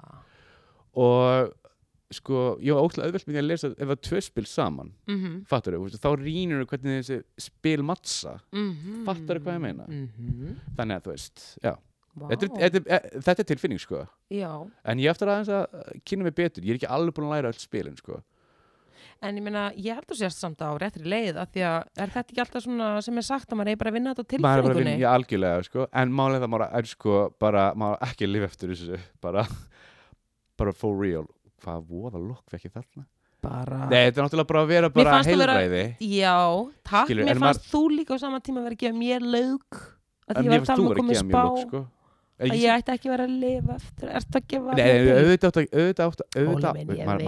A: og sko, ég var ótrúlega auðvelt með því að lesa ef það tvö spil saman,
B: mm -hmm.
A: fattar þú þá rínur þú hvernig þessi spil mattsa
B: mm -hmm.
A: Fattarðu hvað ég meina? þannig að þú veist, já
B: Mhm. Vá.
A: þetta er, þetta, er, e- þetta er tilfinning sko
B: já,
A: en ég eftir aðeins að eh, kynna mig betur, ég er ekki alveg búin að læra öll spilin sko
B: en ég meina, ég held að sérst samt á réttri leið af því að er þetta ekki alltaf svona sem er sagt að maður eigi bara að vinna þetta á
A: maður er bara að vinna
B: tilfinningunni
A: í algjörlega sko. en málega það maður er sko bara, maður á ekki að lifa eftir þessu bara, bara for real hvað voða lokk ekki þarna
B: bara,
A: nei, þetta er náttúrulega bara að vera bara
B: Ah. fannst þú vera-
A: heilræði
B: já, takk
A: Skilur, en
B: mér fannst þú líka á sama tíma að vera að gefa mér laug að því
A: en mér
B: ég var að
A: finnst
B: tala
A: þú
B: um að
A: vera
B: koma
A: að
B: í
A: gefa
B: spá
A: mjög lokk sko En
B: að
A: ég-
B: ég ætti ekki að vera að lifa eftir ertu að gefa
A: Nei,
B: mér laug?
A: auðvitað átt að, auðvitað átt að, auðvitað
B: Óli minn, ég
A: maður- maður-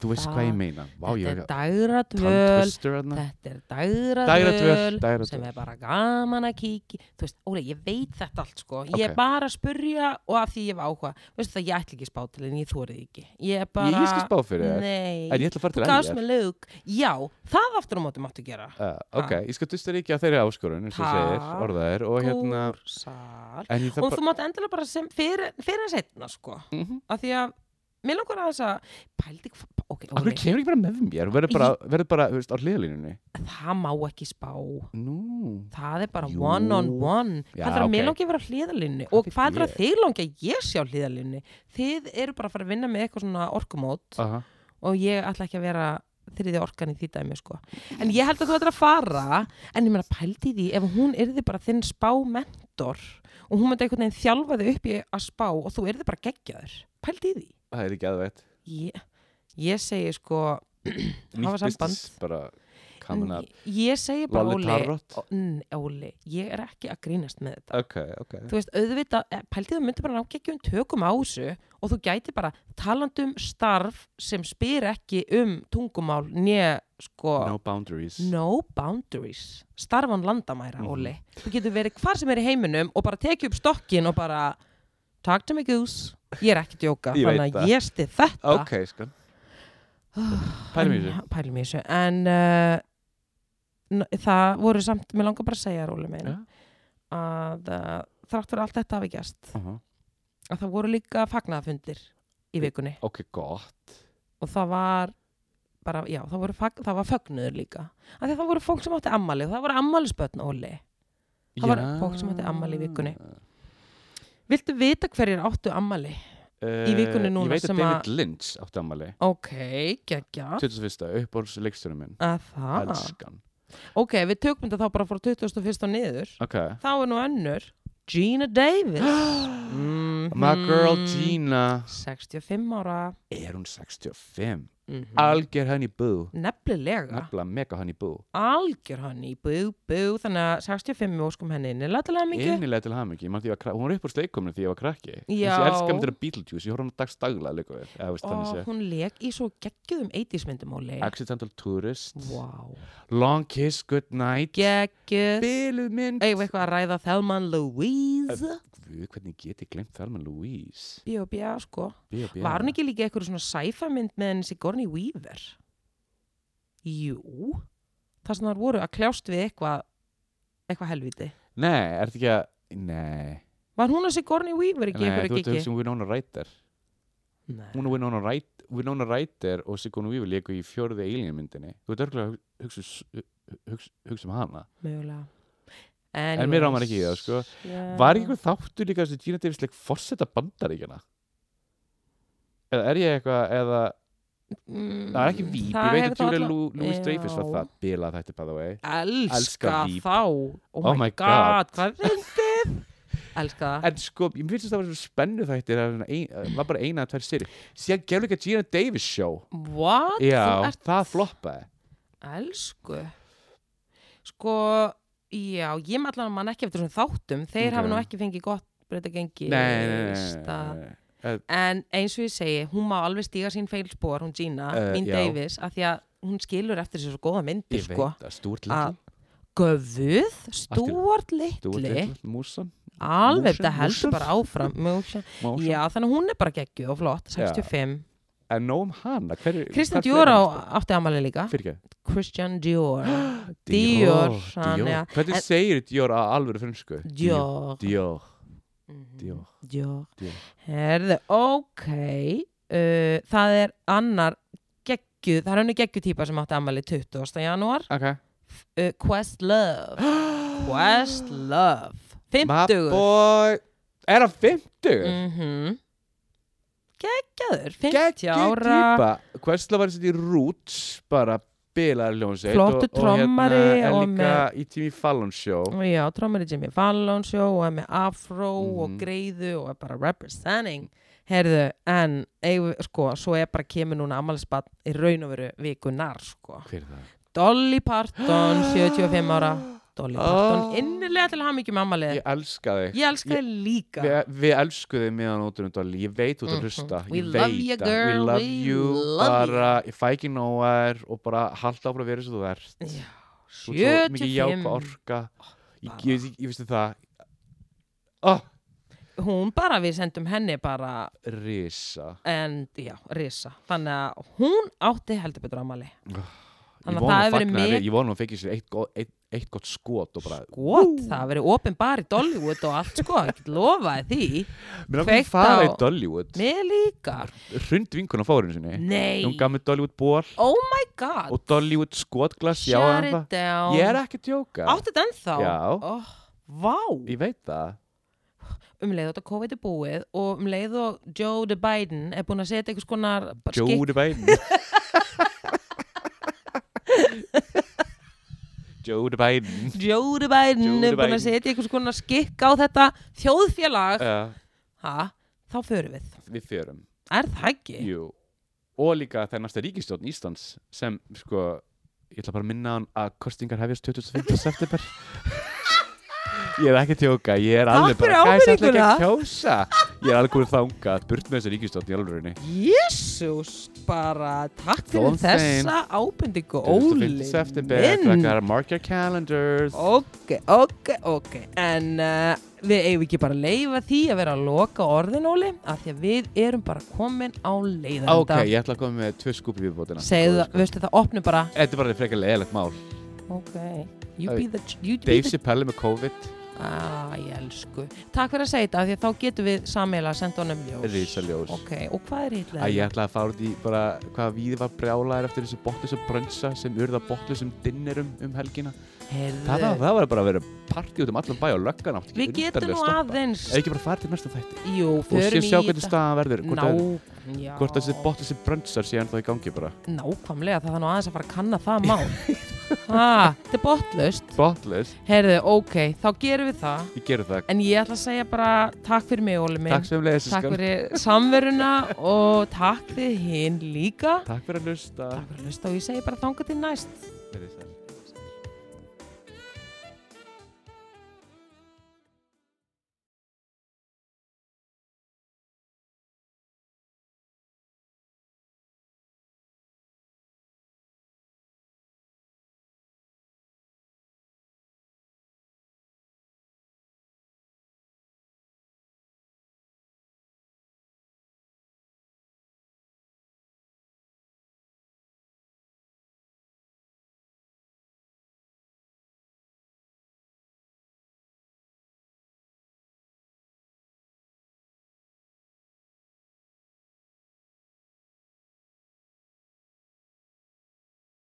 A: Æ, þú veist hvað ég
B: það.
A: meina Vá, ég er
B: þetta er dagradvöl
A: tantvistur hérna
B: þetta er
A: Dægradvöl,
B: dagradvöl
A: dægradvöl.
B: sem er bara gaman að kíkja þú veist, Óli, ég veit þetta allt sko ég er
A: Ok.
B: bara að spurja og af því ég var áhuga veistu það, ég ætla ekki spátil en ég þorið ekki ég er bara,
A: Ég, ég skal spá fyrir þér
B: nei,
A: En ég ætla að fara til
B: þú gafst
A: eljar
B: mér laug já, það aftur á móti máttu gera
A: uh, Ok, ég skal dusta ríkja á þeirri áskorun eins og þú segir,
B: Takk.
A: orða þér og hérna
B: Górsal
A: En ég það
B: og
A: bara
B: þú mátt endilega bara sem fyrir, fyrir en setna sko,
A: Mhm.
B: af því að mér langar að þess að pældi, hva- ok,
A: Akkur
B: Óli
A: kemur ekki bara með mér, verður bara, verður bara, þú veist, á hliðalínunni
B: það má ekki spá
A: Nú,
B: Það er bara
A: Jú.
B: one on one
A: Já,
B: Hvað er að
A: ok.
B: mér langi að vera á hliðalinnu
A: Hvað
B: og
A: finnst
B: hvað er að
A: ég?
B: þig langi að ég sé á hliðalinnu Þið eru bara að fara að vinna með eitthvað svona orkumót
A: aha
B: og ég ætla ekki að vera þriði orkan í því dæmi sko. En ég held að þú ætlar að fara en ég meina pældi í því ef hún yrði bara þinn spámentor og hún myndi einhvern veginn þjálfa þig upp í að spá og þú yrði bara geggjaður Pældi í því
A: Það er ekki aðveit
B: Ég, ég segi sko hafa samband
A: bara kamen að
B: Ég segi bara
A: Lolli
B: Óli
A: Tarrot
B: N- Óli, ég er ekki að grínast með þetta
A: Ok, ok
B: þú veist, auðvitað, eh, pæltið þú myndir bara nákvæmlega ekki um tökum á þessu og þú gæti bara talandum starf sem spyr ekki um tungumál né sko
A: No boundaries
B: no boundaries starfan landamæra,
A: Mhm.
B: Óli þú getur verið hvar sem er í heiminum og bara tekið upp stokkin og bara talk to me goose, ég er ekki að djóka
A: Ég veit
B: þannig að
A: það.
B: ég stið þetta
A: Ok, sko Pælum í
B: *sighs*
A: þessu
B: En- pælum í þessu en uh, n- það voru samt, mér langar bara að segja Óli minn
A: Ja.
B: að uh, þrátt fyrir allt þetta hafi gerst
A: Aha.
B: að það voru líka fagnaðafundir í vikunni
A: Ok, gott
B: og það var bara, já, það, voru fag, það var fögnuður líka af því að það voru fólk sem átti ammali og það voru ammalisbötn, Óli Það var
A: Já.
B: fólk sem átti afmæli í vikunni. Viltu vita hverjir áttu ammali?
A: Í
B: vikunni núna
A: Uh, Ég veit
B: sem
A: að David
B: að-
A: Lynch átti ammali
B: Ok, geggja
A: 21. uppbóls leiksturinn minn
B: að það,
A: Elskan
B: ok, við tökum þetta þá bara frá 21. og niður
A: Ok
B: þá er nú önnur Gina Davis mm
A: My girl Gina
B: 65 ára
A: Er hún 65?
B: mm
A: Alger henni bú
B: nefnilega
A: Nefnilega mega henni bú
B: algjör hann í bú bú þannig að 65 óskum henni innilatilega mikið
A: Einnilega til hamingi Hún var upp úr sleikumni því ég var krakki Þú veist,
B: Já.
A: Ég elska myndir af Beetlejuice Ég horf hann á dags daglega líka við Eða veist þannig
B: og
A: sé
B: hún leik í svo geggjum 80s myndum á leik
A: Accidental Tourist
B: wow.
A: Long Kiss Goodnight
B: geggjuð
A: Biluð mynd
B: eigum við eitthvað að ræða Thelma Louise
A: Guð, hvernig get ég glemt Thelma Louise
B: B.O.B.A. sko
A: B.O.B.
B: var hún ekki líka eitthvað svona sci-fi mynd með henni Sigourney Weaver jú það sem þar voru að kljást við eitthvað eitthvað helviti
A: Nei, er þetta ekki að Nei,
B: var hún að Sigourney Weaver ekki
A: Nei þú
B: eitthvað
A: ert að hugsa
B: ekki
A: um Winona Ryder
B: Nei.
A: Hún og Winona Ryder, Winona Ryder og Sigourney Weaver leiku í fjórðu Alien myndinni Þú ert örgulega að hugsa, hugsa, hugsa um hana
B: mögulega
A: En mér rámar ekki í það, sko.
B: yeah.
A: Var ekki einhver þáttur líka þessi Gina Davis leik forseta bandaríkjana? Eða er ég eitthvað eða,
B: mm,
A: það er ekki víp,
B: það
A: ég veit að
B: hefur þá
A: Julia
B: alla-
A: Lou- Louis
B: Já.
A: Dreyfus var það bilað þetta by the way
B: elska,
A: Elska Veep.
B: þá oh my, god, hvað fyndið elska það
A: En sko, ég finnst að það var svona spennu þættir það var svona ein- það var bara eina að tvær séri Síðan gerðu líka Gina Davis show
B: what,
A: Já,
B: þú ert
A: það floppaði
B: elsku sko, já ég með allan að mann ekki eftir svona þáttum þeir
A: Ok.
B: hafa nú ekki fengið gott breyta gengi
A: Nei, nei, nei, nei, nei,
B: stað.
A: nei.
B: en eins og ég segi, hún má alveg stíga sín feilspor, hún Gina,
A: Eh,
B: mín
A: já.
B: Davis af því að hún skilur eftir sér svo góða myndir
A: Ég
B: sko,
A: veit það, Stuart Little
B: að göfuð, stúart
A: Stuart
B: litli
A: Little, hérna, Músan
B: alveg
A: Motion,
B: þetta
A: motion.
B: heldur bara áfram
A: *laughs*
B: Motion.
A: Músan.
B: já, þannig að hún er bara geggju og flott, 65
A: En nóg um hana hver-
B: Kristján
A: hvað
B: Dior
A: fleiri
B: á,
A: finnst þér?
B: átti amali líka
A: Fyrir ekki
B: Kristján Dior
A: *gasps*
B: Dior,
A: Dior,
B: hann, ja.
A: Dior. Hvernig
B: En-
A: segir Dior á alvöru frönsku?
B: Dior
A: Dior
B: Mhm.
A: Dior.
B: Dior
A: Dior.
B: herðu, ok uh, það er annar geggju, það er henni geggju típa sem átti amali 20. janúar
A: Ok
B: uh, Quest Love
A: *gasps*
B: Quest Love
A: My
B: 50
A: boy Er það 50?
B: mm -hmm. Mhm. geggjaður, 50
A: geggjuð
B: ára
A: típa Questlove var sett í Roots bara bilar hljómsveit
B: Flottur
A: og, og
B: trommari
A: hérna,
B: og Mm.
A: en líka í tími Fallon Show
B: já, trómari Jimmy Fallon show og er með afro og
A: Mhm.
B: greiðu og er bara representing herðu, en eigum við- sko, svo er bara kemur núna ammælisbann í raun og veru vikunar sko.
A: hver er það? *gasps*
B: Dolly Parton, 75 ára Dolly Parton,
A: Oh.
B: innilega til hann mikið með
A: ég
B: ammælið
A: elska þig
B: ég elska þig líka
A: Við, við elskum þig meðan ótrúum Dolly, ég veit út að
B: Mhm.
A: hlusta
B: We
A: ég
B: love
A: veit
B: you,
A: að-
B: girl,
A: we love
B: we
A: you,
B: love
A: bara, ég fæ ekki nóa þér og bara halda áfram að vera eins og þú ert
B: Já,
A: Þú ert svo mikið
B: 75
A: jáka orka ég,
B: bara.
A: ég, ég, ég veistu það oh,
B: hún bara, við sendum henni bara
A: risa
B: en já, risa þannig að hún átti heldur betur ámali
A: Ah, ég
B: Þannig að
A: vona
B: það
A: að
B: hefur verið
A: fagna
B: mik-
A: þér, ég vona að hún fekk í sér eitt, gott- eitt, eitt gott skot og bara
B: gott, það hafi verið opin bar í Dollywood og allt sko, ég get lofaði því
A: Mér langar
B: kveikt
A: að fara í
B: á-
A: Dollywood
B: mér líka,
A: Hrund vinkun á fórinu sinni
B: nei
A: Hún gaf mér Dollywood ból
B: oh my god,
A: og Dollywood skotglas Já,
B: shut
A: en
B: it
A: það-
B: down
A: ég er ekki að tjóka
B: átti þetta ennþá
A: Já.
B: oh, vá,
A: Ég veit það
B: um leið og þetta COVID er búið og um leið og Joe the Biden er búin að setja einhvers konar bara skikk-
A: Joe the
B: *laughs*
A: Biden Joe the Biden
B: Joe the Biden
A: Joe
B: er
A: the
B: búin
A: Biden.
B: að setja einhvers konar skikk á þetta þjóðfélag
A: uh,
B: ha, þá förum við
A: Við fjörum
B: er það ekki?
A: Jú Og líka það er næsta ríkistjórn Íslands sem sko ég ætla bara að minna hann að kostingar hefjast 25.
B: *laughs*
A: september Ég er ekki að tjóka, ég er
B: Takk
A: alveg bara
B: fyrir
A: "Guys, ætla ekki
B: áminninguna."
A: að kjósa Ég er alveg komið þangað, burt með þessi ríkistjórn í alvörunni
B: Jésús, bara takk fyrir
A: Góðan daginn.
B: þessa ábendingu Óli
A: 25. september,
B: minn
A: krakkar, mark your calendars
B: Ok, ok, ok En uh, við eigum ekki bara að leifa því að vera að loka orðin Óli af því að við erum bara komin á
A: Ok,
B: leiðanda
A: ég ætla að koma með tvö skúpi viðbótina sko.
B: Segðu það, veistu það, opnum bara
A: Þetta er bara frekar leðilegt mál
B: Ok,
A: Æ,
B: you be the, you be
A: Dave
B: the
A: Chappelle með COVID,
B: Æ, ég elsku Takk fyrir að segja þetta af því að þá getum við sammeila að senda honum ljós
A: risaljós
B: Ok, og hvað er
A: Að ég
B: hitlega?
A: ætla að fara út í bara hvaða víði var brjálaðir eftir þessu botlisum brönsa sem urða botlisum dinnerum um helgina Það, var, það var bara að vera partí út um allan bæ og löggan átt ekki
B: Við getum
A: undarlega
B: nú
A: að stoppa.
B: aðeins
A: Eða ekki bara fara til næsta þætti
B: Jú,
A: og sé
B: förum í
A: sjá hvernig
B: þetta
A: staðan verður hvort, að,
B: Ná, já
A: hvort þessi botlisum brönsar sé ennþá í gangi bara
B: Nákvæmlega, það er nú aðeins að fara að kanna það mál *laughs* Ha, þetta er botlaust
A: Botlis,
B: Herðu, ok, þá gerum við það
A: ég gerði það
B: En ég ætla að segja bara takk fyrir mig, Óli minn
A: Takk sem leiðis
B: Takk fyrir samveruna og takk fyrir hinn líka
A: Takk fyrir að hlusta
B: Takk fyrir að hlusta og ég segi bara þangað til næst
A: Verið sæl.